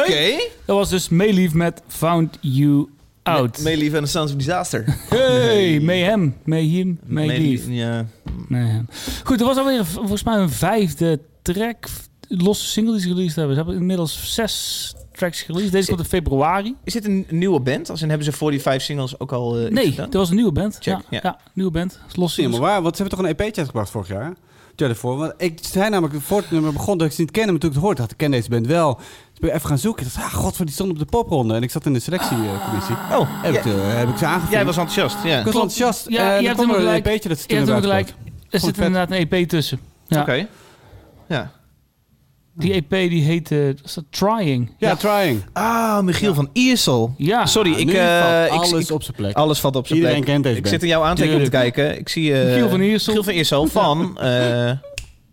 C: Oké.
D: Dat was dus Mayleaf met Found You Out.
C: May Leave and the Sons of Disaster.
D: hey, Mayhem. Mayhem. Mayleaf.
C: Ja.
D: Mayhem. Goed, er was alweer v- volgens mij een vijfde track. Losse single die ze released hebben. Ze hebben inmiddels zes tracks released. Deze komt in februari.
C: Is dit een nieuwe band? Als in hebben ze 45 singles ook al eh, iets
D: Nee,
C: gedaan?
D: dat was een nieuwe band.
C: Check,
D: ja,
C: ja.
D: ja. nieuwe band. Losse
A: Zie je
D: singles.
A: maar waar, want ze hebben toch een EP'tje uitgebracht vorig jaar? Ja, daarvoor. Want ik zei namelijk, voor het nummer begon, dat ik ze niet kende. Maar toen ik het hoorde, dacht ik, ken deze band wel. Dus ben ik even gaan zoeken. Ik dacht, ah, godver, die stond op de popronde. En ik zat in de selectiegecommissie.
C: Oh,
A: heb,
C: ja.
A: ik, eh, heb ik ze aangevoerd.
C: jij was enthousiast. Ja.
A: ik was
C: Oké.
A: enthousiast.
D: Ja,
A: Ja,
D: je
A: en
D: hebt
A: Eh, er kwam er
D: helemaal
A: een
D: gelijk.
A: EP'tje dat ze
D: Je
A: toen
D: hebt
A: hebben
D: hem gelijk.
A: uitgebracht.
D: Er
A: Vond
D: zit
A: ik vet.
D: inderdaad een EP tussen. Ja.
C: Ja.
D: Die EP die heette was dat Trying.
A: Ja, Trying.
C: Ah, Michiel van Iersel.
D: Ja.
C: Sorry,
A: Ah,
C: ik,
A: nu
C: eh,
A: valt
C: ik-
A: alles
C: ik-
A: op zijn plek.
C: Alles valt op zijn
A: Iedereen
C: plek.
A: kent deze
C: Ik
A: band.
C: zit in jouw aantekening te
D: Tuurlijk.
C: kijken. Ik zie... eh,
D: Michiel van Iersel.
C: Michiel van Iersel van... eh,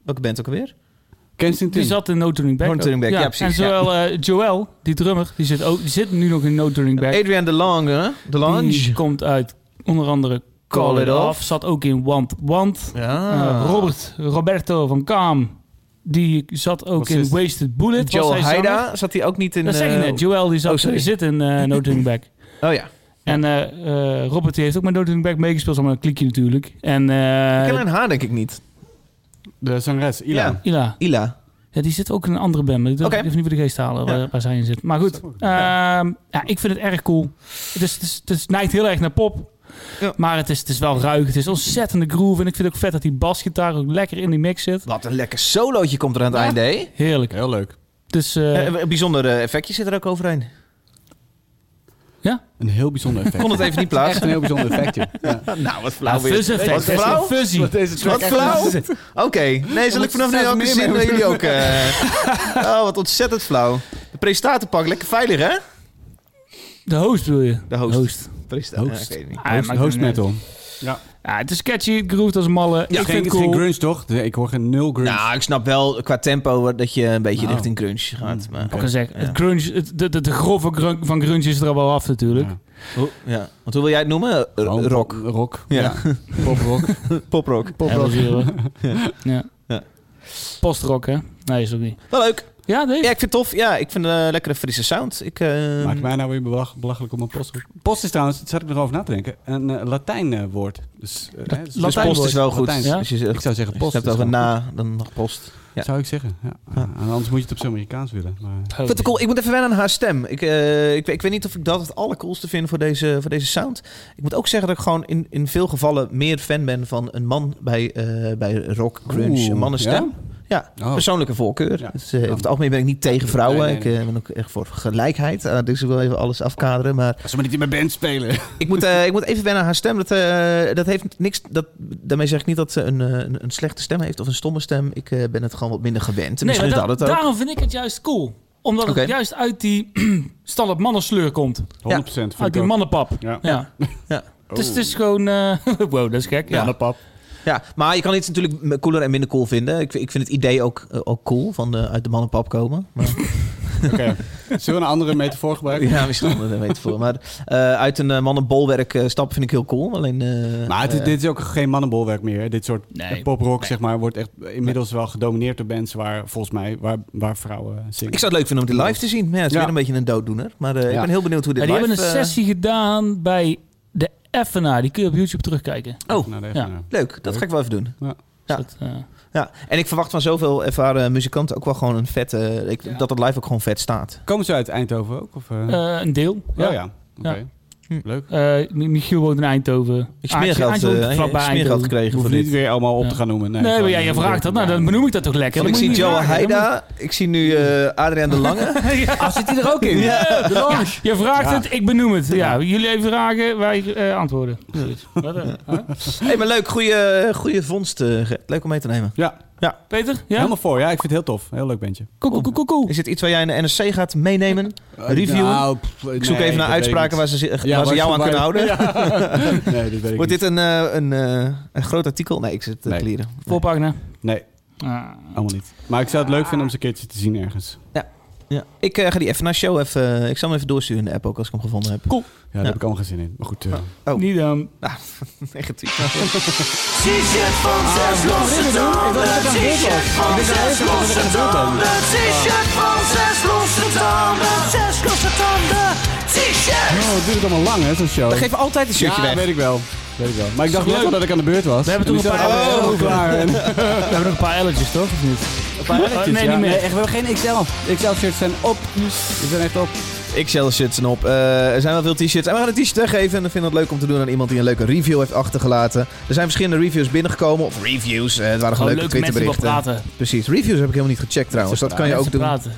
C: welke band ook alweer?
A: Kensington.
D: Die zat in No Turning Back.
C: No
D: ook.
C: Turning Back, ja, precies,
D: En zowel eh, Joel, die drummer, die zit, ook, die zit nu nog in No Turning Back.
C: Adrian de Lange. De
D: Die
C: Lange.
D: komt uit onder andere Call, It Off. Zat ook in Want Want.
C: Ja.
D: Eh, Robert, Roberto van Kaam. Die zat ook
A: Wat
D: in
A: is-
D: Wasted Bullet. was
C: Joel
D: hij zanger.
C: Haida. Zat hij ook niet in...
D: Dat zeg je
C: eh,
D: net. Joel die zat,
C: oh, sorry.
D: die zit in eh No Turning Back.
C: Oh ja.
D: En eh, eh, Robert die heeft ook met No Turning Back meegespeeld. Allemaal een klikje natuurlijk. En eh,
C: Ik ken haar denk ik niet.
A: De zangeres, Ila.
C: Ja.
D: Ila.
C: Ila.
D: Ja, die zit ook in een andere band, maar ik durf
C: Oké.
D: ik even niet voor de geest te halen waar, waar zij in zit. Maar goed, ehm, ja, ik vind het erg cool. Het, is, het, is, het is- neigt heel erg naar pop,
C: Ja.
D: maar het is, het is wel ruig. Het is ontzettende groove en ik vind ook vet dat die basgitaar ook lekker in die mix zit.
C: Wat een lekker solootje komt er aan het
D: Ja.
C: einde, hè?
D: Heerlijk.
A: Heel leuk.
D: Dus eh,
C: Eh, een bijzonder eh, effectje zit er ook overheen.
D: ja,
A: Een heel bijzonder effect.
C: Kon het even niet
A: Echt
C: plaatsen.
A: een heel bijzonder effectje. Ja.
C: nou, wat
D: ja
C: flauw weer.
D: fuzzy.
C: Wat flauw?
D: Fuzzy.
A: deze
C: Wat flauw? Oké. Nee, zal ik vanaf nu
A: staat
C: ook
A: meer
C: eens zien
A: mee.
C: dat jullie ook... eh, oh, wat ontzettend flauw. De presentatorpak, lekker veilig, hè?
D: De host wil je?
C: De host.
D: host.
C: Presentator.
A: Host.
C: ik weet het niet.
D: Ah, maakt
A: host
D: niet uit.
A: metal.
D: Ja, het is catchy, het groeft als een malle.
A: Ja,
D: ik
A: geen,
D: vind het cool.
A: geen grunge toch? Nee, Ik hoor geen nul grunge.
C: Nou, ik snap wel qua tempo dat je een beetje
A: Nou.
C: richting crunch gaat. Maar,
D: Ik kan zeggen,
C: Ja.
D: het grunge, het, de, de, de grove grun- van grunge is er al wel af natuurlijk.
A: Ja.
C: ja. Want hoe wil jij het noemen? R-
A: Gewoon
C: rock.
A: Oh, eh, Rock.
C: Ja.
A: Ja. Poprock.
C: Poprock.
D: Poprock. Ja.
C: Ja.
D: Postrock, hè? Nee, is ook niet.
C: Wel leuk.
D: Ja, nee.
C: Ja, ik vind het tof. Ja, ik vind een lekkere frisse sound. Ik, eh,
A: Maakt mij nou weer belach- belachelijk om een post. Post is trouwens, daar zat ik nog over na te denken, een eh, Latijn eh, woord. Dus, eh, hè, dus
C: dus post is wel goed.
A: Latijns.
D: Ja.
C: Als je
A: Ik
C: zegt,
A: zou zeggen
C: als
A: post.
C: je hebt
A: is
C: over
A: wel
C: na, dan nog post.
A: goed. Zou ik zeggen, ja. En Anders moet je het op zijn Amerikaans willen. Maar...
D: Oh,
C: Ik vind het cool. Ik moet even wennen aan haar stem. Ik, eh, ik, weet- ik weet niet of ik dat het allercoolste vind voor deze, voor deze sound. Ik moet ook zeggen dat ik gewoon in, in veel gevallen meer fan ben van een man bij, eh, bij rock, grunge,
A: Oeh,
C: een mannenstem. Ja,
A: Oh.
C: persoonlijke voorkeur.
A: Ja.
C: Dus, eh, over het algemeen ben ik niet tegen vrouwen.
A: Nee, nee, nee.
C: Ik eh, ben ook echt voor gelijkheid. Ah, dus ik wil even alles afkaderen. Maar
A: Als ze maar niet in mijn band spelen.
C: ik moet, eh, ik moet even wennen aan haar stem. Dat, eh, dat heeft niks, dat, daarmee zeg ik niet dat ze een, eh, een, een slechte stem heeft of een stomme stem. Ik eh, ben het gewoon wat minder gewend. En
D: nee,
C: misschien
D: maar
C: is
D: da-
C: dat het ook.
D: daarom vind ik het juist cool. Omdat
C: Oké.
D: het juist uit die standaard mannensleur komt.
A: 100% vind
D: uit
A: ik
D: die
A: ook.
D: mannenpap.
A: Ja.
D: Ja.
C: Ja.
D: Dus het is gewoon... eh, wow, dat is gek. Ja.
A: Mannenpap.
C: Ja, maar je kan iets natuurlijk m- cooler en minder cool vinden. Ik, ik vind het idee ook, eh, ook cool, van eh, uit de mannenpap komen. Maar,
A: Oké. Zullen we een andere metafoor gebruiken?
C: ja, misschien onder de metafoor. Maar eh, uit een eh, mannenbolwerk eh, stappen vind ik heel cool. Alleen, eh,
A: Maar het is,
C: eh,
A: dit is ook geen mannenbolwerk meer. hè. Dit soort
D: Nee.
A: eh, poprock, zeg maar, wordt echt inmiddels wel gedomineerd door bands waar, volgens mij, waar, waar vrouwen eh, zingen.
C: ik zou het leuk vinden om dit live te zien. Maar ja, het is
A: Ja.
C: weer een beetje een dooddoener. Maar eh, ik
A: Ja.
C: ben heel benieuwd hoe dit
D: Ja, die
C: live...
D: hebben een
C: eh,
D: sessie gedaan bij de FNA. Die kun je op YouTube terugkijken.
C: Oh,
A: Nou, daar
D: Ja.
A: even naar.
C: leuk. Dat ga ik wel even doen. Ja.
D: Dus dat, eh,
C: Ja. En ik verwacht van zoveel ervaren muzikanten ook wel gewoon een vet... eh, ik, dat het live ook gewoon vet staat.
A: eh. Komen ze uit Eindhoven ook? Of, eh?
D: eh, een deel.
A: Oh ja, oké.
D: Ja.
C: Hm.
A: Leuk.
D: Eh, Mi- Michiel woont in Eindhoven.
C: Ik
D: Aantje-
C: smeergeld,
D: Aantje
C: eh
D: woont
C: ik
D: vlakbij
C: smeergeld
D: Eindhoven.
A: Je
C: gekregen voor
A: hoeft niet
C: dit.
A: weer allemaal op
D: Ja.
A: te gaan noemen.
D: Nee, maar ja, je vraagt dat. Nou, dan benoem ik dat toch lekker.
C: Want ik
D: Dat
C: zie
D: moet je
C: Joe
D: niet vragen.
C: Haida, ik zie nu eh, Adriaan de Lange.
A: Ah, zit hij er ook in?
C: Ja.
A: De Lange.
D: Je vraagt
A: Ja.
D: het, ik benoem het. Ja, jullie even vragen, wij eh, antwoorden. Zoiets. Wat, eh, huh?
C: Hey, maar leuk, goede, goede vondst. eh, Gert. leuk om mee te nemen.
A: Ja,
D: Peter? Ja?
A: helemaal voor. Ja, ik vind het heel tof. Heel leuk bandje.
D: Koekoe, koekoe, koekoe.
C: Is dit iets waar jij in de NRC gaat meenemen? Eh, Reviewen?
D: Nou,
C: ik zoek even naar uitspraken waar ze, zi- waar ze jou aan kunnen houden.
A: Nee, dat weet ik
C: Wordt
A: niet.
C: dit een, eh, een, eh, een groot artikel? Nee, eh, ik zit te
A: Nee.
C: klieren.
D: Voorpagina.
A: Nee,
D: Ah.
A: allemaal niet. Maar ik zou het leuk vinden om ze een keertje te zien ergens.
C: Ja. Ik eh, ga die even naar show even. eh, ik zal hem even doorsturen in de app ook als ik hem gevonden heb.
D: Cool.
A: Ja, daar heb ik allemaal geen zin in. Maar goed, eh,
C: Oh.
D: Niet dan.
C: Ah, negatief.
H: T-shirt van zes losse tanden. T-shirt van zes losse tanden. T-shirt van zes losse tanden. Zes losse tanden. T-shirt.
A: oh, het duurt allemaal lang, hè, zo'n show.
C: We geven altijd een shirtje
A: ja,
C: weg.
A: weet ik wel. Weet ik wel. Maar ik dacht net wel dat ik aan de beurt was.
D: We hebben
A: En
D: toen
A: die
D: een
A: zaten
D: paar-
A: allemaal
D: Oh.
A: klaar. En,
D: We hebben nog een paar elletjes, toch? Of niet? Een paar elletjes, Nee,
A: Ja,
D: niet meer.
A: echt, we hebben geen XL. XL-shirts zijn op. Ze zijn echt op.
C: XL shirts en op. Eh, er zijn wel veel t-shirts. En we gaan een t-shirt weggeven. En dan vinden we het leuk om te doen aan iemand die een leuke review heeft achtergelaten. Er zijn verschillende reviews binnengekomen. Of reviews. eh, het waren gewoon
D: Gewoon
C: leuke
D: leuke mensen die wel
C: Twitterberichten.
D: praten.
C: Precies. Reviews heb ik helemaal niet gecheckt trouwens. Dat kan je ook
D: Mensen
C: doen.
D: praten.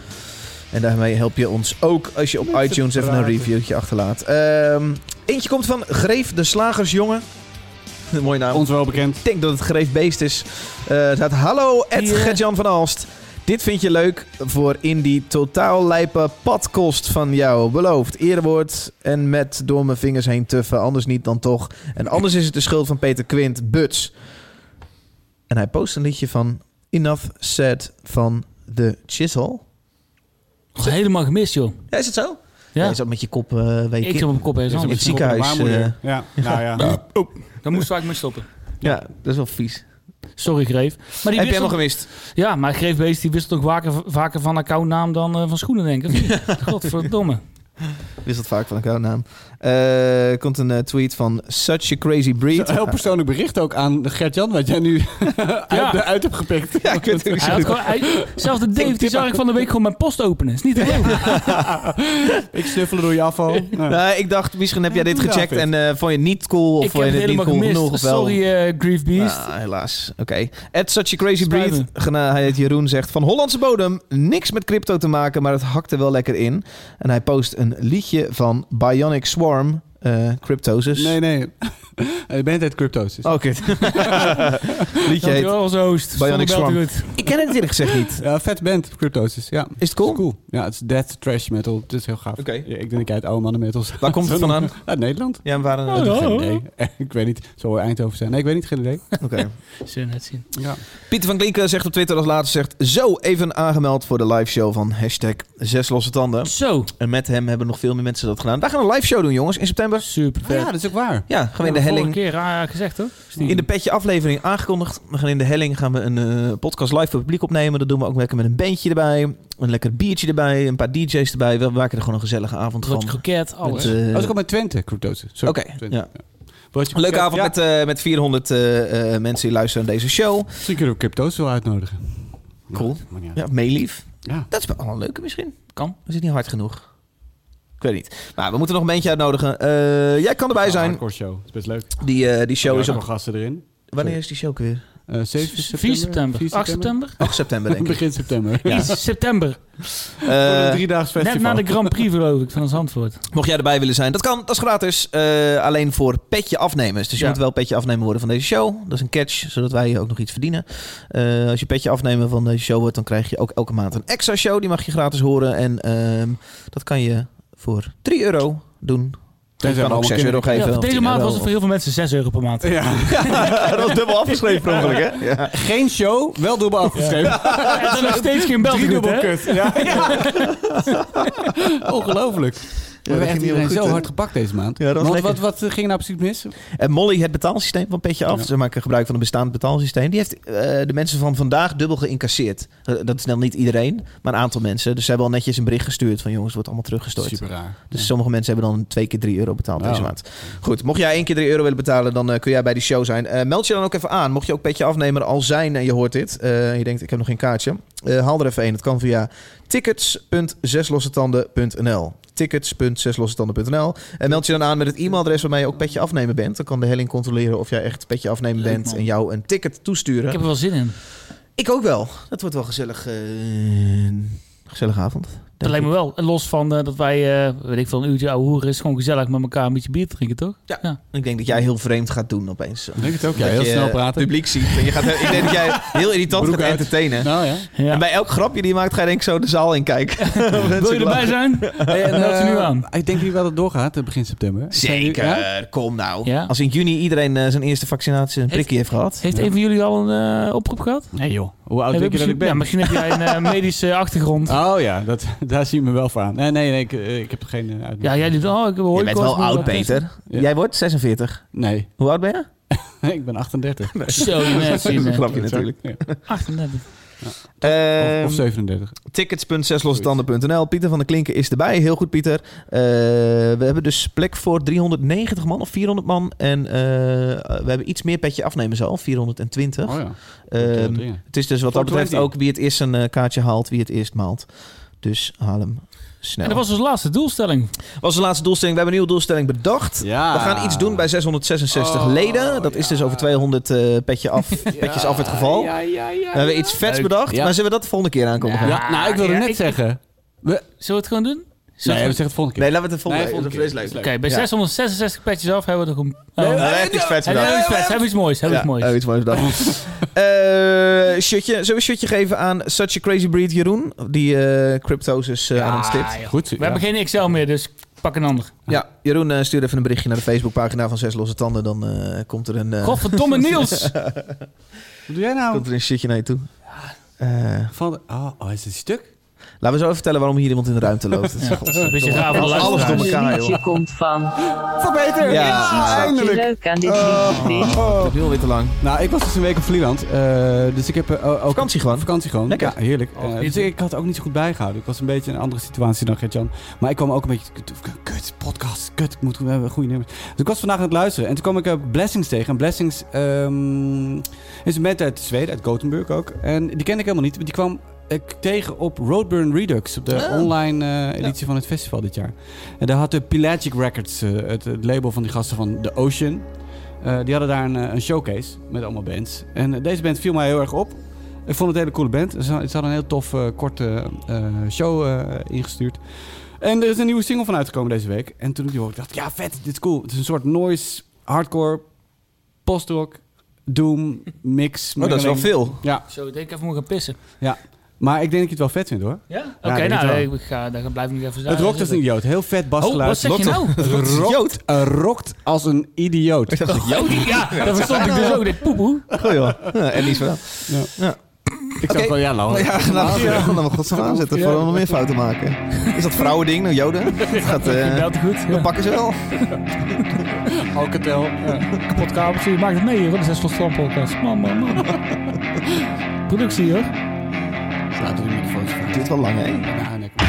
C: En daarmee help je ons ook als je op iTunes even een
A: praten.
C: reviewtje achterlaat. Ehm, eentje komt van Greef de Slagersjongen. Een mooie naam.
A: Ons wel bekend.
C: Ik denk dat het Greef Beest is. Eh, het staat Hallo, Ed
D: Die, eh,
C: Gertjan van Alst. Dit vind je leuk voor in die totaal lijpe padkost van jou. Beloofd, erewoord en met door mijn vingers heen tuffen. Anders niet dan toch. En anders is het de schuld van Peter Quint, Buts. En hij post een liedje van Enough Said van The Chisel.
D: Nog helemaal gemist, joh.
C: Ja, is het zo? Ja.
D: Ja.
C: Is dat met je kop eh bij je
D: Ik
C: kin?
D: zit op mijn kop
A: Is
D: eens
A: een
C: het
D: anders.
A: beetje
C: ziekenhuis,
A: op de baarmoeder.
C: eh,
A: Ja, nou ja.
D: Dan moesten we eigenlijk mee stoppen.
C: Ja, dat is wel vies.
D: Sorry, Greef. Maar die
C: Heb jij
D: wissel-
C: hem al gemist?
D: Ja, maar Greef Beest die wisselt ook vaker, vaker van accountnaam dan eh, van schoenen, denk ik. of niet? Godverdomme.
C: Wisselt vaak van elkaar naam. Eh, Er komt een eh, tweet van Such a Crazy Breed.
A: Heel persoonlijk bericht ook aan Gert-Jan, wat jij nu uit,
D: Ja.
A: uit hebt gepikt.
C: Ja, ik weet het ook
D: Hij had
C: niet.
D: gewoon, hij, zelfs de Dave, die zag ik van de week gewoon mijn post openen. Is niet te geloven.
A: Ik snuffelen door je afval. Nou.
C: Nou, ik dacht, misschien heb jij dit
A: Ja,
C: gecheckt
A: vind.
C: en eh, vond je het niet cool of
D: Ik
C: vond
D: heb
C: je
D: het
C: het niet
D: helemaal
C: cool genoeg
D: gemist.
C: of wel.
D: Sorry, eh Grief Beast.
C: Ah, helaas. Oké. At Such a Crazy Breed,
D: Spijten.
C: gena- hij heet Jeroen, zegt van Hollandse bodem. Niks met crypto te maken, maar het hakt er wel lekker in. En hij post een liedje van Bionic Swarm, eh Cryptosis.
A: Nee, nee. Je bent uit cryptosis.
C: Oh, kut. liedje heet...
D: Dankjewel als host.
C: Bionic
D: Zonder belt u
C: Ik ken het eerlijk gezegd niet.
A: Ja, vet band, cryptosis. Ja.
C: Is het cool?
A: Is cool. Ja, het is death trash metal. Het is heel gaaf.
C: Oké.
A: Ja, ik denk uit oude mannen metals.
C: Waar komt het
A: Zo
C: vandaan?
A: noemen. Uit Nederland.
C: Ja, we waren...
D: Oh, ja.
A: Geen idee. ik weet niet. Zou Eindhoven zijn? Nee, ik weet niet. Geen idee.
C: Oké.
D: goed. Zullen we het zien.
A: Ja.
C: Pieter van Klinken zegt op Twitter als laatste zegt... Zo, even aangemeld voor de liveshow van hashtag Zes Losse Tanden.
D: Zo.
C: En met hem hebben nog veel meer mensen dat gedaan. Wij gaan een live show doen, jongens, in september.
D: Super
A: Ah, ja, dat is ook waar.
C: Ja, gaan we in de
D: Vorige
C: helling.
D: keer ah, gezegd, hoor.
C: In de petje aflevering aangekondigd. We gaan in de helling gaan we een eh, podcast live voor het publiek opnemen. Dat doen we ook lekker met een bandje erbij. Een lekker biertje erbij. Een paar DJ's erbij. We maken er gewoon een gezellige avond
D: Broodje
C: van.
D: kroket, alles.
C: Met, eh,
A: Dat is ook al met Twente, cryptosis. Sorry,
C: Oké,
A: Twente.
C: ja.
A: Broodje-
C: een leuke avond
A: Ja,
C: met, eh, met 400 eh, eh, mensen die luisteren naar deze show.
A: Misschien kunnen we cryptosis wel uitnodigen.
C: Cool.
A: Ja, maar ja.
C: Ja, meelief.
A: Ja.
C: Dat is wel een leuke misschien.
D: Kan.
C: Is het niet hard genoeg? Ik weet niet. Maar we moeten nog een bandje uitnodigen. Eh, jij kan erbij zijn.
A: Nou, Hardcore show. is best leuk.
C: Die, eh, die show
A: Ja,
C: is
A: ook
C: op...
A: nog gasten erin.
C: Wanneer is die show ook weer?
A: Eh 7
D: S-
A: september.
D: 4 september. 8 september?
C: 8 september, denk ik.
A: Begin september.
C: Ja.
D: Iets september.
A: Voor een
C: Eh,
A: driedaags festival.
D: Net na de Grand Prix, geloof ik, van ons antwoord.
C: mocht jij erbij willen zijn, dat kan. Dat is gratis. Eh, alleen voor petje afnemers. Dus je
D: Ja.
C: moet wel petje afnemer worden van deze show. Dat is een catch, zodat wij ook nog iets verdienen. Eh, als je petje afnemer van deze show wordt, dan krijg je ook elke maand een extra show. Die mag je gratis horen. En ehm, dat kan je voor 3 euro doen. Je
A: we
C: kan ook
A: allemaal
C: 6 euro
A: kinderen-
C: geven.
D: Ja,
C: of
D: deze
C: 10
D: maand
C: euro,
D: was het
C: of-
D: voor heel veel mensen 6 euro per maand.
A: Ja.
C: dat was dubbel afgeschreven, per ongeluk, hè? Ja.
A: Geen show, wel dubbel afgeschreven.
D: En dan nog steeds geen belt
A: Drie
D: goed,
A: dubbel
D: hè?
A: kut. Ja. Ongelooflijk. We hebben
C: ging
A: echt
C: niet
A: iedereen
C: goed,
A: zo
C: hè?
A: hard gepakt deze maand.
C: Ja, dat was
A: Want wat,
C: lekker.
A: wat eh, ging er nou precies mis?
C: En Molly, het betaalsysteem van Petje Af,
A: Ja.
C: ze maken gebruik van een bestaand betaalsysteem, die heeft eh, de mensen van vandaag dubbel geïncasseerd. Eh, dat is dan niet iedereen, maar een aantal mensen. Dus ze hebben al netjes een bericht gestuurd van jongens, het wordt allemaal teruggestort.
A: Super raar.
C: Dus sommige mensen hebben dan twee keer 3 euro betaald deze
A: Nou.
C: maand. Goed, mocht jij één keer 3 euro willen betalen, dan eh, kun jij bij die show zijn. Eh, meld je dan ook even aan. Mocht je ook petje afnemer al zijn en je hoort dit. eh, en je denkt, ik heb nog geen kaartje. eh, haal er even een. Het kan via tickets.zeslossentanden.nl tickets.zeslossentanden.nl En meld je dan aan met het e-mailadres waarmee je ook petje afnemer bent. Dan kan de helling controleren of jij echt petje afnemer
D: Leuk,
C: bent
D: man.
C: en jou een ticket toesturen.
D: Ik
C: Ik,
D: heb er wel zin in.
C: ook wel. Dat wordt wel gezellig. eh, gezellige avond.
D: Dat lijkt me wel. En Los van eh, dat wij, eh weet ik veel, een uurtje ouwe hoeren is. Gewoon gezellig met elkaar een beetje bier drinken, toch?
C: Ik denk dat jij heel vreemd gaat doen opeens.
A: Ik denk het ook. Ja, eh,
C: Dat
A: heel
C: je
A: snel praten.
C: publiek ziet. En je gaat, ik denk dat jij heel irritant
A: Broek
C: gaat
A: uit.
C: entertainen.
A: Nou ja.
D: Ja.
C: En bij elk grapje die je maakt, ga je denk ik zo de zaal in kijken.
D: Wil je erbij zijn?
A: Hey, en,
D: Meld je nu
A: eh,
D: aan.
A: Ik denk nu wel dat het doorgaat eh, begin september.
C: Zeker,
A: Ja?
C: kom nou.
D: Ja.
C: Als in juni iedereen eh, zijn eerste vaccinatie en
D: Heeft-
C: prikje heeft gehad.
D: Heeft een van jullie al een eh, oproep gehad?
C: Oh,
A: Nee joh. Hoe oud
D: Heb
A: denk
D: ik
A: je dat ik
D: misschien-
A: ben?
C: Ah.
D: Ja, misschien heb jij een eh, medische achtergrond.
A: Oh ja, dat, dat daar zie je me wel voor aan. Nee, nee, nee ik, eh, ik heb geen eh, uitnodiging.
D: Ja, jij doet, oh, ik heb
C: Je bent wel oud, Peter.
A: Ja.
C: Jij wordt 46.
A: Nee,
C: Hoe oud ben je?
A: ik ben 38.
D: Zo, mensen.
C: Dat is een
D: man.
C: grapje natuurlijk.
A: Ja.
D: 38.
C: Ehm,
A: Of, of 37.
C: Tickets.zeslossetanden.nl. Pieter van der Klinken is erbij. Heel goed, Pieter. Eh, we hebben dus plek voor 390 man of 400 man. En eh, we hebben iets meer petje afnemen zo, 420.
A: Oh ja.
C: Ehm,
A: dat ding.
C: het is dus wat dat betreft
A: 420.
C: ook wie het eerst een eh, kaartje haalt, wie het eerst maalt. Dus haal hem
D: En
C: snel.
D: dat was onze laatste doelstelling.
C: was de laatste doelstelling. We hebben een nieuwe doelstelling bedacht.
A: Ja.
C: We gaan iets doen bij 666
A: Oh,
C: leden. Dat is dus over 200 eh, petje af, petjes af het geval. we hebben iets vets bedacht.
A: Ja.
C: Maar zullen we dat de volgende keer aankondigen?
A: ja, nou, ik wilde
D: ja,
A: net
D: ik-
A: zeggen. We,
D: Zullen we het gewoon doen?
A: nee,
D: Zullen
A: we
D: we-
A: zeggen het volgende keer.
C: Nee, laten we het de volgende
A: Nee,
C: keer.
A: volgende
C: Dat is
A: keer.
C: leuk.
A: Is leuk.
D: Oké, bij
C: Ja.
D: 666 petjes af hebben we er gewoon... Oh,
C: We
D: hebben
C: hebben echt iets vets
D: we
C: gedaan.
D: iets vets, hebben we iets moois, hebben we iets moois.
C: iets moois bedacht. Eh, shirtje. Zullen we een shirtje geven aan Such a Crazy Breed Jeroen? Die eh crypto's is eh, aan ons tipt.
D: joh.
A: Goed,
D: We
A: ja.
D: hebben geen XL meer, dus pak een ander.
C: Ja, Jeroen, eh, stuur even een berichtje naar de Facebookpagina van Zes Losse Tanden. Dan eh, komt, er een, eh,
D: Godverdomme Niels!
A: Wat doe jij nou?
C: komt er een shitje naar je toe. Eh,
A: Van de- oh, oh, is dit stuk?
C: laten we zo even vertellen waarom hier iemand in de ruimte loopt. Dat is godverdomme.
D: Een beetje raar voor de
C: Alles door
D: luisteraars.
C: elkaar,
E: liedje
C: joh.
E: komt van.
A: Voor beter!
C: Ja. Oh.
E: Wat je
A: eindelijk!
E: leuk aan dit liedje vindt.
C: Het duurt Heel weer te lang.
A: Nou, ik was dus een week op Vlieland. eh, dus ik heb eh, ook...
C: Vakantie gewoon.
A: Vakantie gewoon.
C: Lekker.
A: Ja, heerlijk.
D: Oh,
A: Eh,
D: dit-
A: dus ik had ook niet zo goed bijgehouden. Ik was een beetje in een andere situatie dan Gert-Jan. Maar ik kwam ook een beetje... Kut, kut, podcast. Kut, ik moet we hebben goede nummers. Dus ik was vandaag aan het luisteren. En toen kwam ik eh, Blessings tegen. En Blessings ehm, is een band uit Zweden, uit Gothenburg ook. En die kende ik helemaal niet. Maar die kwam ik tegen op Roadburn Redux. Op de
C: Ah.
A: online eh, editie van het festival dit jaar. En daar had de Pelagic Records, eh, het, het label van die gasten van The Ocean... Eh, die hadden daar een, eh, een showcase met allemaal bands. En eh, deze band viel mij heel erg op. Ik vond het een hele coole band. Ze, ze hadden een heel tof eh, korte eh, show eh, ingestuurd. En er is een nieuwe single van uitgekomen deze week. En toen ik die hoorde, dacht ik, ja vet, dit is cool. Het is een soort noise, hardcore, postrock, doom, mix.
C: Oh, dat is wel
A: mengeling.
C: veel.
A: Ja,
D: Zo, ik denk ik even moet gaan pissen.
A: maar ik denk dat je het wel vet vindt hoor.
D: Ja? Oké,
A: denk
D: nou,
A: het
D: ik ga, daar blijf ik nog even
A: het rokt als een idioot. Heel vet
D: Oh, wat
A: basgeluid.
D: zeg je nou?
A: Het rokt, het rokt als een idioot.
D: Oh, ja, dat verstond ik dus ook. Dit poepoe.
C: Goh, joh. Ja, en iets wel.
A: Ik zat
C: Oké.
A: wel, ja nou.
C: Ja, nou,
A: Ja.
C: ja. dan godsnaam aanzetten voor nog meer fouten maken. Is dat vrouwending, nou joden? Dat gaat, eh,
D: Belt goed.
C: dan
D: Ja.
C: pakken ze wel.
A: Alcatel. Ja.
D: Kapot kabeltje, je maakt het mee hoor. Dat is een soort podcast. Man, man, man. Productie hoor.
A: Laten we de microfoons gaan.
C: Dit wel lang, hè?
A: Ja, nee, kom.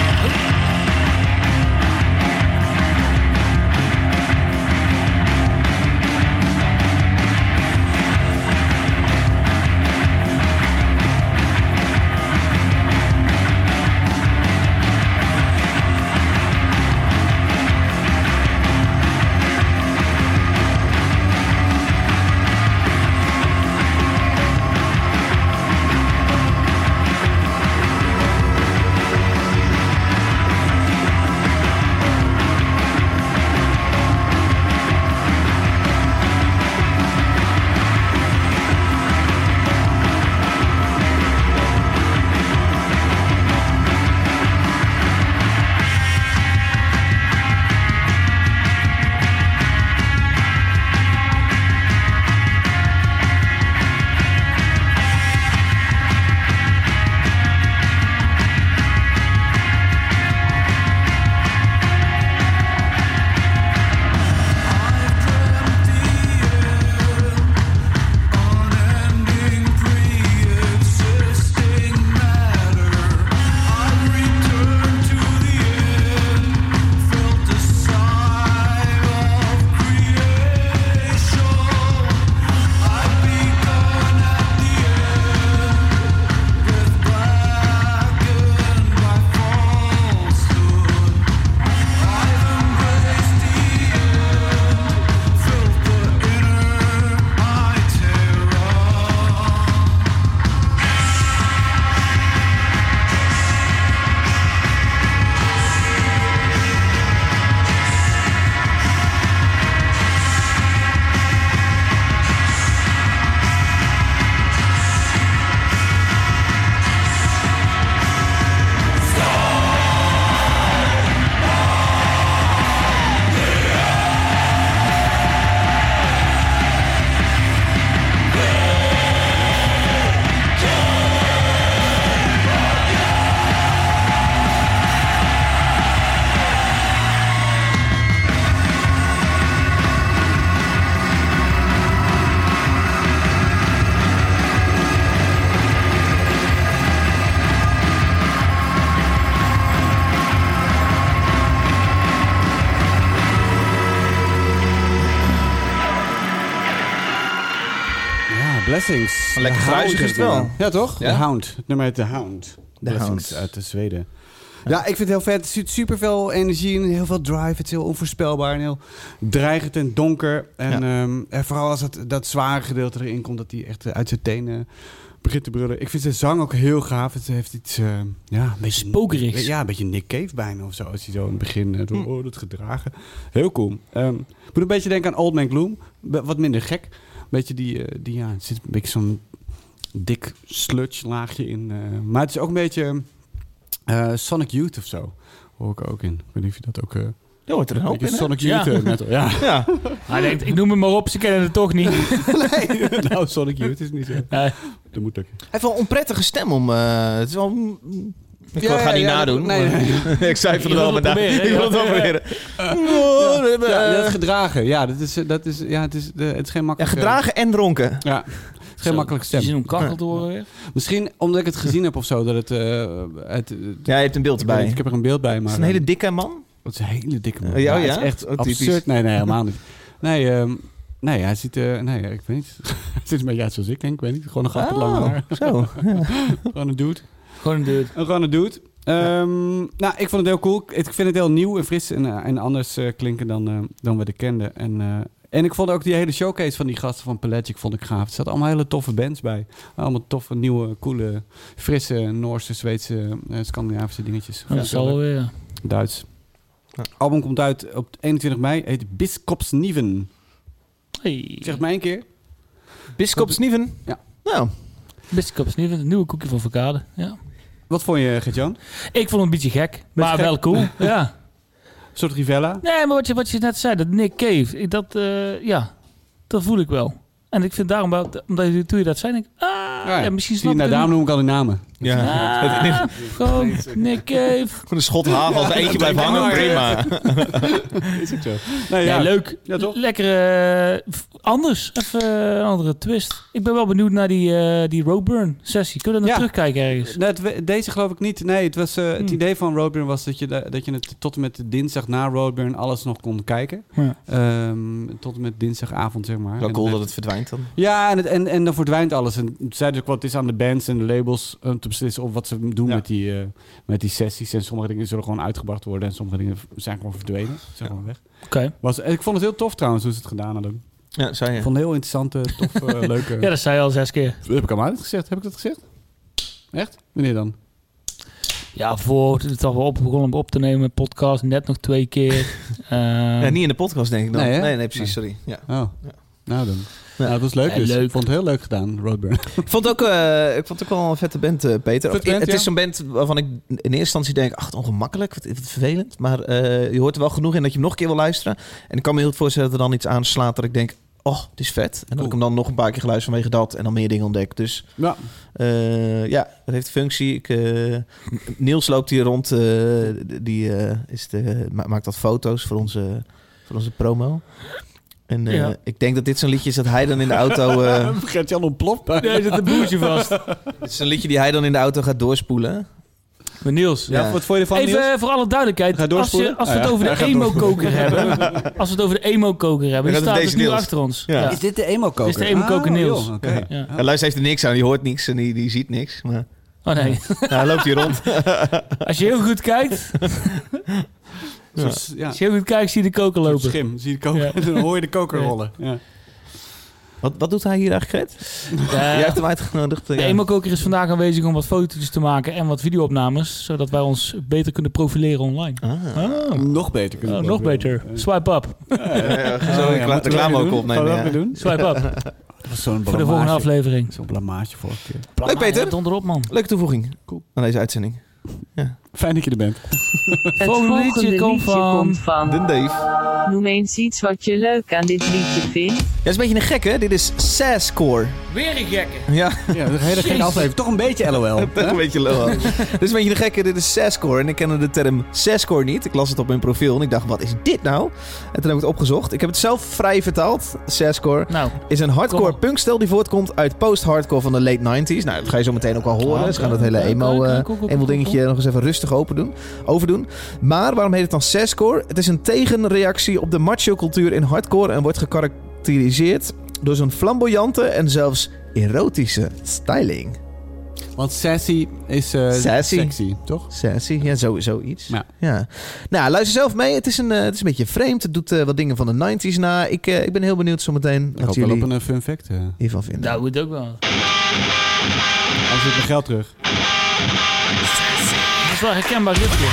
B: Thank
A: Blessings.
C: Een lekker
A: De
C: geluid is
A: Hound
C: het wel.
A: hebben we. Ja, toch?
C: Ja.
A: De Hound. Het nummer heet The Hound.
C: The
A: Blessings
C: Hound.
A: uit de Zweden. Ja. ik vind het heel vet. Er zit super veel energie in, heel veel drive. Het is heel onvoorspelbaar en heel dreigend en donker. En, ehm, en vooral als het, dat zware gedeelte erin komt, dat hij echt eh, uit zijn tenen begint te brullen. Ik vind zijn zang ook heel gaaf. Het heeft iets, eh, ja, een beetje...
D: Spokerigs.
A: Ja, een beetje Nick Cave bijna of zo. Als hij zo in het begin, eh,
C: Hm.
A: door, oh, dat gedragen. Heel cool. Ehm, ik moet een beetje denken aan Old Man Gloom. Be- wat minder gek. Beetje die, eh, die ja, er zit een beetje zo'n dik sludge laagje in. eh, maar het is ook een beetje eh, Sonic Youth of zo. Hoor ik ook in. Ik weet niet of je dat ook... eh,
C: Ja, hoort er een hoop
A: beetje
C: in, hè?
A: Sonic Youth eh, metal. Ja.
C: Ja.
D: Hij denkt, ik noem hem maar op, ze kennen het toch niet.
A: nee, nou, Sonic Youth is niet zo.
D: Nee.
A: Dat moet ook.
C: Hij heeft wel een onprettige stem om... eh, het is wel... mm, Ik
A: Ja,
C: ga
A: ja,
C: niet
A: ja,
C: nadoen.
A: nee,
C: ik zei van
D: Je
C: wel,
D: wil
C: maar na-
D: het proberen, hè?
C: ik wil het wel
D: Ja.
C: proberen. Oh, we hebben,
A: Ja, dat
C: eh,
A: gedragen. Ja, dat is, eh, dat is, ja, het, is, de- het is geen
C: ja,
A: makkelijke...
C: gedragen en dronken.
A: Ja, het is geen makkelijke
D: Ze
A: stem.
D: zien hem kachel door weer.
A: Misschien omdat ik het gezien heb of zo, dat het... eh, het het-
C: Ja, je hebt een beeld erbij.
A: Ik heb er een beeld bij, maar...
C: Het is een hele dikke man.
A: Het is een hele dikke man.
C: Eh, ja,
A: het is
C: ja?
A: echt
C: Oh, typisch.
A: absurd. Nee, nee, helemaal niet. Nee, ehm, nee hij ziet... eh, nee, ik weet niet. het is een beetje uit zoals ik denk. Ik weet niet. Gewoon een grappig lang
C: Oh,
A: haar.
C: Zo.
A: Gewoon een dude.
D: Gewoon een dude.
A: Een gewoon een dude. Ehm, Nou, ik vond het heel cool. Ik vind het heel nieuw en fris en, eh, en anders eh, klinken dan, eh, dan we de kenden. En, eh, en ik vond ook die hele showcase van die gasten van Pelagic vond ik gaaf. Er zaten allemaal hele toffe bands bij. Allemaal toffe, nieuwe, coole, frisse, Noorse, Zweedse, eh, Scandinavische dingetjes.
D: Dat zal wel weer.
A: Duits.
C: Ja.
A: Album komt uit op 21 mei. Heet Biskopsnieven.
D: Hey.
A: Zeg het mij een keer.
C: Bisschop Snieven.
A: Ja.
C: Nou,
D: Biscuits, niet een nieuwe koekje van Verkade. Ja.
A: Wat vond je, Gert-Jan?
D: Ik vond hem een beetje gek, maar
A: gek?
D: wel cool. ja.
A: Een soort Rivella?
D: Nee, maar wat je, wat je net zei, dat Nick Cave, ik- dat, eh, ja, dat voel ik wel. En ik vind daarom wel, omdat je, toen je dat zei, denk ik, ah, ja, misschien snap
A: Zie je,
D: ik
A: nou,
D: het
A: daarom
D: niet.
A: noem ik al die namen.
D: Ah, gewoon Nick Cave.
C: Gewoon een schot haven als er eentje blijft hangen, prima.
A: Is ook zo. Nee,
D: Ja,
A: ja.
D: leuk.
A: Ja, toch?
D: Lekker eh, f- anders. Even eh, een andere twist. Ik ben wel benieuwd naar die, eh, die Roadburn sessie. Kunnen we naar
A: Ja.
D: terugkijken ergens?
A: Nou, het we- deze geloof ik niet. Nee, het, was, eh, het
D: Hm.
A: idee van Roadburn was dat je, da- dat je het tot en met dinsdag na Roadburn alles nog kon kijken.
D: Ja.
A: Ehm, tot en met dinsdagavond, zeg maar.
C: Wel
A: En
C: cool
A: dan-
C: dat het verdwijnt dan.
A: Ja, en, het, en, en dan verdwijnt alles. En toen zeiden ze ook wat is aan de bands en de labels om te beslissen of wat ze doen
C: Ja.
A: met, die, eh, met die sessies. En sommige dingen zullen gewoon uitgebracht worden en sommige dingen v- zijn gewoon verdwenen. Zijn gewoon weg.
D: Oké.
A: Was, en ik vond het heel tof trouwens hoe ze het gedaan hadden.
C: Ja, zei
A: Ik
C: je.
A: vond het heel interessante, tof, eh, leuke...
D: Ja, dat zei je al zes keer.
A: Heb ik hem uitgezegd? Heb ik dat gezegd? Echt? Wanneer dan?
D: Ja, voor het al we op begonnen om op te nemen, podcast net nog twee keer. Ehm,
C: Ja, niet in de podcast denk ik dan.
A: Nee,
C: Nee,
A: hè?
C: nee, precies, sorry. Ja.
A: Oh.
C: Ja.
A: Nou dan.
C: Ja.
A: Nou, het was leuk
D: Ja,
A: dus.
D: leuk.
A: Ik vond het heel leuk gedaan, Roadburn.
C: Ik vond ook, eh, ik vond het ook wel een vette band, eh, Peter.
A: Vette
C: Of, i-
A: band,
C: het
A: ja.
C: is zo'n band waarvan ik in eerste instantie denk... Ach, ongemakkelijk, wat, wat vervelend. Maar eh, je hoort er wel genoeg in dat je hem nog een keer wil luisteren. En ik kan me heel goed voorstellen dat er dan iets aanslaat dat ik denk... Oh, het is vet. En dan heb ik hem dan nog een paar keer geluisterd vanwege dat. En dan meer dingen ontdekt. Dus
A: ja.
C: Eh, ja, dat heeft functie. Ik, eh, Niels loopt hier rond. eh, die eh, is de, ma- maakt wat foto's voor onze, voor onze promo. En eh,
D: Ja.
C: ik denk dat dit zo'n liedje is dat hij dan in de auto... eh,
A: Gert-Jan ontploft bij.
D: Nee, er zit een boertje vast.
C: dit is een liedje die hij dan in de auto gaat doorspoelen.
D: Met Niels.
A: Ja,
C: Ja.
A: wat vond je ervan,
D: Even
A: Niels?
D: eh, voor alle
A: Ga je
D: duidelijkheid. Als,
A: doorspoelen?
D: je, als we
A: Ah,
D: het
A: ja.
D: over
A: Hij
D: de
A: gaat
D: emo-koker hebben. Als we het over de emo-koker hebben.
C: Dan
D: Die
C: gaat het
D: staat dus
C: deze
D: nu
C: Niels.
D: achter ons.
C: Ja.
D: Ja.
A: Is dit de emo-koker? Oh,
D: Dit is de emo-koker Niels.
A: joh, oké.
C: Ja.
D: Ja.
C: En Luister heeft er niks aan. Die hoort niks en die, die ziet niks. Maar
D: Oh nee.
C: hij loopt hier rond.
D: Als je heel goed kijkt,
A: Zo'n s- ja.
D: als je heel goed kijkt zie je de koker
A: Zo'n
D: lopen.
A: Schim, zie je de koker.
D: Ja.
A: Dan hoor je de koker
D: Ja.
A: rollen. Ja.
C: Wat, wat doet hij hier eigenlijk, Gret?
D: Ja.
C: Jij hebt hem uitgenodigd. eh,
D: Eh, De
C: ja.
D: emo-koker is vandaag aanwezig om wat foto's te maken en wat videoopnames. Zodat wij ons beter kunnen profileren online.
C: Ah.
A: Nog beter kunnen
D: Oh,
A: we
D: nog
A: dat weer.
D: beter. Swipe up.
C: Eh, zo
A: Oh, ja,
C: recla-
A: moeten we
C: reclame
A: dat
C: ook
A: doen?
C: opnemen.
A: Gaan we
C: ja.
A: dat weer doen?
D: Swipe up.
A: Dat was zo'n
D: Voor de volgende aflevering.
A: Zo'n blamage voor een keer.
C: Leuk, Peter.
D: Donderop, man.
C: Leuke toevoeging
A: Cool.
C: aan deze uitzending.
A: Fijn dat je er bent.
I: Het
D: volgende
I: volgende
D: liedje
I: liedje
D: komt van-
I: komt van.
C: De Dave.
I: Noem eens iets wat je leuk aan dit liedje vindt.
C: Ja, is een beetje een gek, hè? Dit is Sasscore.
D: Weer een gekke.
C: Ja,
A: Ja, dat is een hele gekke aflevering. Toch een beetje LOL.
C: dat is een beetje lul. Dit is een beetje een gekke, dit is Sasscore. En ik kende de term Sasscore niet. Ik las het op mijn profiel en ik dacht, wat is dit nou? En toen heb ik het opgezocht. Ik heb het zelf vrij vertaald. Sasscore
D: Nou,
C: is een hardcore
D: Kom op.
C: punkstijl die voortkomt uit post-hardcore van de late 90s. Nou, dat ga je zo meteen ook al horen. Ze gaan dat hele
D: Oké,
C: emo,
D: oké,
C: eh,
D: oké, oké, oké,
C: emo dingetje nog eens even rustig open doen, overdoen. Maar waarom heet het dan Sasscore? Het is een tegenreactie op de macho cultuur in hardcore en wordt gekarakteriseerd door zo'n flamboyante en zelfs erotische styling.
A: Want sassy is eh,
C: Sassy.
A: sexy, toch?
C: Sassy, ja, zo- zoiets.
A: Ja.
C: Ja. Nou, luister zelf mee. Het is een, eh, het is een beetje vreemd. Het doet eh, wat dingen van de 90s na. Ik, eh, ik ben heel benieuwd zometeen
A: Ik
C: wat
A: hoop wel op
C: jullie
A: een eh, fun fact. eh.
C: hiervan vinden.
D: Dat moet ook wel.
A: Anders zit mijn geld terug.
D: Dat is wel een herkenbaar riffje.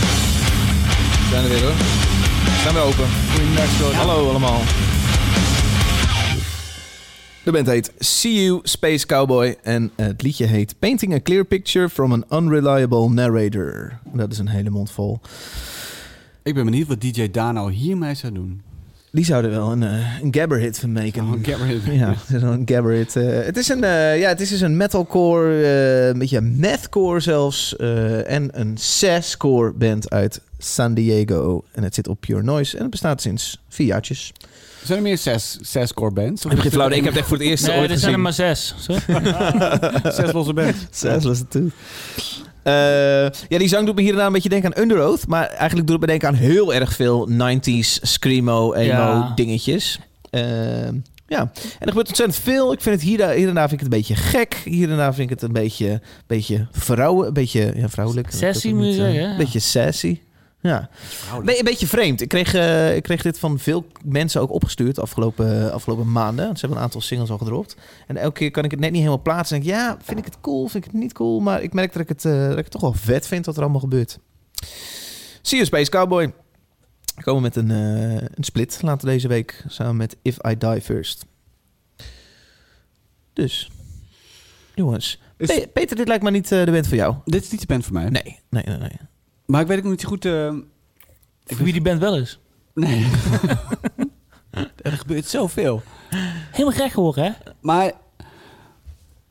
C: We zijn er weer hoor. We zijn weer open. Hallo allemaal. De band heet See You Space Cowboy en eh, het liedje heet Painting a Clear Picture from an Unreliable Narrator. Dat is een hele mond vol.
A: Ik ben benieuwd wat DJ Dano hiermee zou doen.
C: Die zouden wel een, eh, een gabber hit van maken.
A: Oh, get rid of it.
C: Ja, dat is wel een gabberit. Eh, het is een, eh, ja, het is dus een metalcore, eh, een beetje mathcore zelfs. eh, en een sascore band uit San Diego. En het zit op Pure Noise. En het bestaat sinds vier jaartjes.
A: Zijn er meer zes, zes core bands? Of is er-
C: heb echt voor het eerst
D: Nee, er zijn er maar zes. Zo.
A: zes losse bands.
C: Zes was het toen. Eh, ja, die zang doet me hier en daar een beetje denken aan Under Oath. Maar eigenlijk doet het me denken aan heel erg veel 90s screamo, emo
D: Ja.
C: dingetjes. Ehm, ja, en er gebeurt ontzettend veel. Ik vind het hier, hier en daar vind ik het een beetje gek. Hier en daar vind ik het een beetje, beetje vrouwen, een beetje ja, vrouwelijk.
D: Sassy
C: Dat
D: moet je
C: eh,
D: zeggen, ja.
C: beetje sassy. Ja. Nee, een beetje vreemd. Ik kreeg, eh, ik kreeg dit van veel mensen ook opgestuurd afgelopen, afgelopen maanden. Ze hebben een aantal singles al gedropt. En elke keer kan ik het net niet helemaal plaatsen. En denk ik, ja, vind ik het cool, vind ik het niet cool. Maar ik merk dat ik het, eh, dat ik het toch wel vet vind wat er allemaal gebeurt. See you, Space Cowboy. We komen met een, eh, een split later deze week. Samen met If I Die First. Dus, jongens.
A: Is-
C: Pe- Peter, dit lijkt me niet eh, de band voor jou.
A: Dit is niet de band voor mij.
C: Nee, nee, nee. nee.
A: Maar ik weet ook niet goed... eh,
D: Wie die band wel is.
A: Nee. er gebeurt zoveel.
D: Helemaal gek geworden, hè?
A: Maar,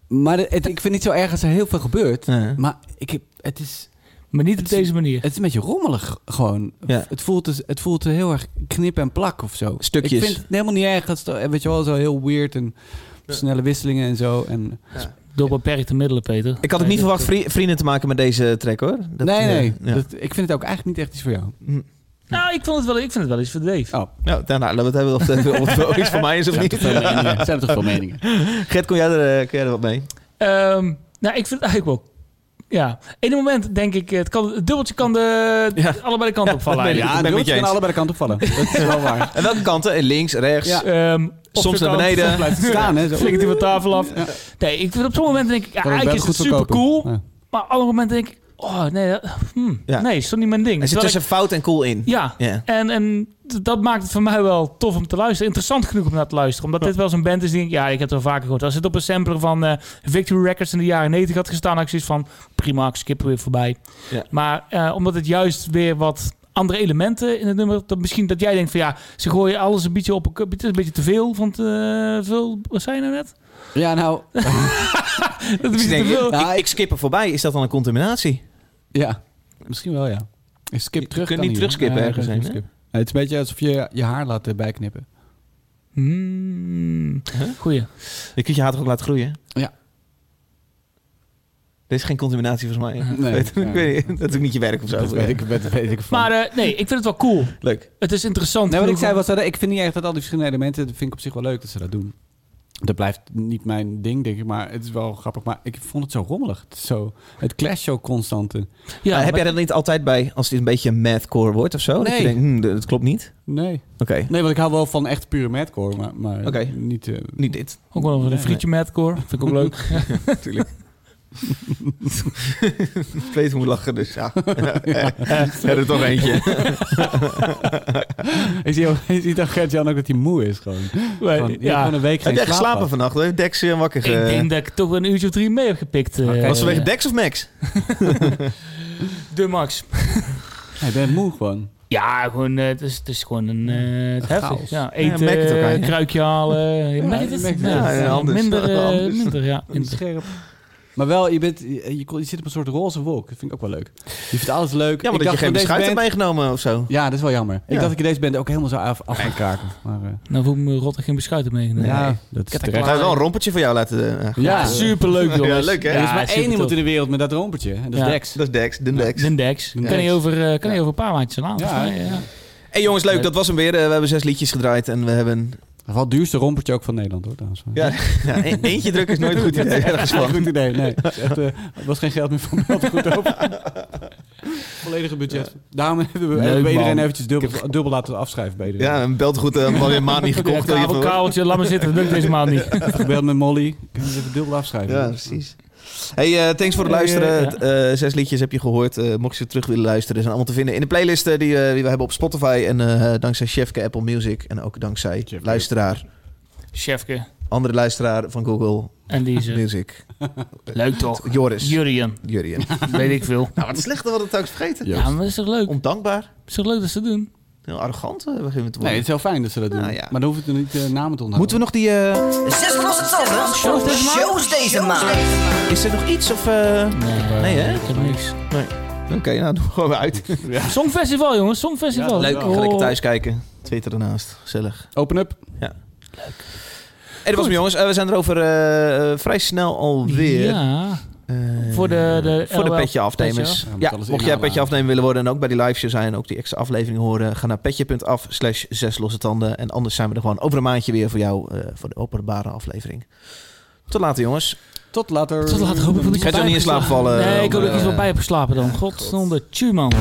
A: maar het, ik vind het niet zo erg als er heel veel gebeurt. Maar ik heb, het is...
D: Maar niet op deze manier.
A: Het is een beetje rommelig gewoon. Het, voelt, dus- het voelt heel erg knip en plak of zo.
C: Stukjes.
A: Ik vind het helemaal niet erg. als het, weet je wel, zo heel weird en snelle wisselingen en zo. En,
D: Door beperkte middelen, Peter.
C: Ik had ook niet verwacht vri- vrienden te maken met deze track hoor. Dat,
A: nee,
C: eh,
A: nee.
C: ja.
A: dat- ik vind het ook eigenlijk niet echt iets voor jou.
D: Nou, ik, vond het wel, ik vind het wel iets voor Dave.
A: Oh.
C: Nou, nou, nou, laten we het hebben of het, of het wel iets voor mij is of
A: Zijn
C: niet.
A: er toch veel meningen? Zijn er toch veel meningen?
C: Gert, kon jij er, eh, kon jij er wat mee?
D: Ehm, nou, ik vind het eigenlijk wel... Ja, in een moment denk ik, het, kan, het dubbeltje kan de, allebei de kant op vallen.
C: dat ben ik.
D: eigenlijk.
C: Ja, ben
A: Ja, en
C: met je
A: Roeltje kan
C: eens.
A: allebei de kant opvallen. Dat is wel waar.
C: En welke kanten? Eh, Links, rechts?
A: Ja.
D: Ehm, op
C: Soms
D: de
C: naar
D: kant.
C: beneden.
A: Blijft het staan, hè? Zo.
D: Flikkert hij van tafel af. Nee, ik vind op sommige momenten denk ik, ja,
A: Kan ook
D: eigenlijk is
A: best
D: het
A: goed
D: super
A: verkopen.
D: cool.
A: Ja.
D: Maar op andere momenten denk ik, oh nee, dat, hmm,
C: Ja.
D: nee, is toch niet mijn ding.
C: Er zit
D: Terwijl
C: tussen fout en cool in.
D: ik- ja,
C: Ja.
D: en, en d- dat maakt het voor mij wel tof om te luisteren. Interessant genoeg om naar te luisteren. Omdat dit wel zo'n band is die ik, ja, ik heb het wel vaker gehoord. Als het op een sampler van eh, Victory Records in de jaren 90 had gestaan, had ik zoiets van, prima, ik skip er weer voorbij.
C: Ja.
D: Maar eh, omdat het juist weer wat andere elementen in het nummer, dat misschien dat jij denkt van ja, ze gooien alles een beetje op, een cup. het is een beetje te veel van te veel, wat zei je nou net?
A: Ja, nou...
D: Dat is een
C: Dus
D: beetje
C: ik,
D: te
C: denk,
D: veel.
C: ik, ik skip er voorbij. Is dat dan een contaminatie?
A: Ja, misschien wel, ja. Ik skip terug.
C: kunt
A: kan
C: niet
A: hier.
C: terugskippen
A: Ja,
C: ergens
A: kan je
C: heen, hè?
A: terugskippen. Nee, het is een beetje alsof je je haar laat eh, bijknippen.
D: Hmm. Goeie.
C: Je kunt je haar toch ook laten groeien?
A: Ja.
C: Er is geen contaminatie volgens mij.
A: Nee.
C: Weet-
A: Ja.
C: ik weet niet. dat is ook niet je werk of zo.
A: Dat weet ik, dat weet ik van.
D: Maar eh, nee, ik vind het wel cool.
C: Leuk.
D: Het is interessant.
A: nee, wat ik
D: genoeg
A: zei
D: om-
A: was dat ik vind niet echt dat al die verschillende elementen... Dat vind ik op zich wel leuk dat ze dat doen. Dat blijft niet mijn ding, denk ik. Maar het is wel grappig. Maar ik vond het zo rommelig. Het, is zo, het clash zo constant. eh.
D: Ja,
C: Maar Ah, heb
D: maar-
C: jij dat niet altijd bij als dit een beetje mathcore wordt of zo? Dat
A: Nee.
C: je denkt, hm, dat klopt niet.
A: Nee.
C: Oké,
A: Nee, want ik hou wel van echt pure madcore. Maar, maar
C: Oké.
A: niet... eh,
C: niet dit.
D: ook wel een frietje madcore. Vind ik ook leuk.
C: Natuurlijk. ik weet hoe we lachen, dus ja. Er er toch eentje.
A: ik zie, ook- je ziet aan Gert-Jan ook dat hij moe is gewoon.
D: Maar,
A: Van, je hebt
D: ja.
A: gewoon een week
C: Heb
A: geen
C: jij
A: slaap
C: geslapen
A: gehad.
C: vannacht? Hè? Dex eh, wakker.
D: Ik
C: ge-
D: denk dat ik toch een uurtje of drie mee heb gepikt. eh,
C: Was het vanwege Dex of Max?
D: de max.
A: Nee, Ik ben moe gewoon.
D: Ja, gewoon, eh, het, is, het is gewoon een... eh, het
C: Heftig.
D: chaos. Ja,
C: Ja,
D: eten, eh,
C: merk het ook aan je.
D: kruikje halen. Je merkt het.
A: je merkt
D: Ja,
A: het.
C: Ja,
D: ja,
C: anders.
D: Minder, eh,
C: Anders.
D: minder, ja. minder.
A: Scherp. Maar wel, je, bent, je, je kon- je zit op een soort roze wolk. Dat vind ik ook wel leuk. Je vindt alles leuk.
C: Ja,
A: Ik
C: maar dat je
A: dacht
C: geen
A: van deze
C: beschuit hebt
A: band-
C: meegenomen of zo.
A: Ja, dat is wel jammer.
C: Ja.
A: Ik dacht ik deze band ook helemaal zo af, af gaan kraken. Maar, eh,
D: Nou voel ik me rot dat ik geen beschuit heb meegenomen.
A: ja, dat is
D: Kijk,
C: Ik
A: terecht.
D: klaar.
C: ga wel een rompertje voor jou laten. eh,
A: Ja,
D: Ja, superleuk, jongens.
C: Ja, leuk, hè?
A: er is maar
D: supertof.
A: één iemand in de wereld met dat rompertje. En dat
D: Ja.
A: is Dex.
C: Dat is Dex, de Dex.
D: De Dex. Kan
A: Dex.
D: hij over, eh, kan hij over een paar maandjes aan?
A: Ja,
D: volgens mij, ja.
C: Hey jongens, leuk, dat was hem weer. Eh, We hebben zes liedjes gedraaid en we hebben...
A: Wel het duurste rompertje ook van Nederland hoor. Trouwens.
C: Ja, ja, e- eentje druk is nooit een goed idee. Ergens
A: Geen
C: van.
A: goed idee. Nee, Het is echt, eh, er was geen geld meer voor melden goed over. Volledige budget. Daarom hebben we, hebben we
D: man.
A: iedereen eventjes dubbel, dubbel laten afschrijven bij iedereen.
C: Ja, een belt goed, eh, maar weer een maand niet
D: Ja,
C: gekocht.
D: kabel, kabeltje, laat maar zitten. Dat lukt deze maand niet.
A: Gebeld met Molly. Kunnen we even dubbel afschrijven?
C: Ja, precies. Hey, eh, thanks voor het
D: Hey,
C: luisteren.
D: eh, ja.
C: Het, eh, zes liedjes heb je gehoord. Eh, mocht je ze terug willen luisteren, zijn allemaal te vinden in de playlisten die, eh, die we hebben op Spotify. En eh, dankzij Chefke Apple Music en ook dankzij
A: Chefke.
C: luisteraar,
D: Chefke.
C: andere luisteraar van Google
D: En die is er.
C: Music.
D: Leuk toch?
C: Joris.
D: Jurien,
C: Jurien.
D: weet ik veel.
C: nou, wat slecht dat we dat telkens vergeten.
D: Ja, maar is toch leuk?
C: Ondankbaar.
D: Is toch leuk dat ze het doen?
C: Heel arrogant eh, beginnen we te
A: Nee,
C: worden.
A: het is heel fijn dat ze dat doen.
C: Nou ja.
A: Maar dan hoeven we niet eh, namen te onthouden.
C: Moeten we nog die... eh,
H: Zes losse tanden. Shows deze maand.
C: is er nog iets of... eh,
D: Nee,
C: Nee, hè?
D: Ik heb niks.
C: Oké, nou doen we gewoon weer uit.
D: Songfestival, jongens. Songfestival.
C: Leuk, ga lekker
D: Oh.
C: thuis kijken. Twitter ernaast, gezellig.
A: Open up.
C: Hey, dat was hem jongens. Eh, we zijn er over eh, eh, vrij snel alweer.
D: Ja.
C: Eh,
D: Voor de- de
C: voor de
D: LOL
C: petje afnemers.
D: petje
A: af. Ja, moet
C: ja,
A: alles
C: mocht jij
A: inhalen
C: petje
A: aan.
C: afnemen willen worden en ook bij die live show zijn, ook die extra aflevering horen, ga naar petje.af slash zes losse tanden. En anders zijn we er gewoon over een maandje weer voor jou eh, voor de openbare aflevering. Tot later jongens.
A: Tot later.
D: Tot later. Hoop ik dat ik
C: Ga je
D: erbij
C: toch niet
D: heb
C: in slaap
D: geslapen.
C: vallen,
D: Nee, ik hoop dat ik
C: eh,
D: iets wel bij heb geslapen dan. Godzonde tju, man.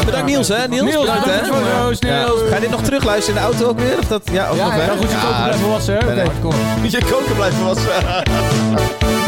C: Ja, bedankt Niels hè. Niels,
D: Niels,
C: bedankt, hè.
D: bedankt voor Niels, Niels.
C: Ja. Ga je dit nog terugluisteren in de auto ook weer? Of dat, ja, ook nog hè?
A: blijven wassen.
C: Moet je koken blijven wassen.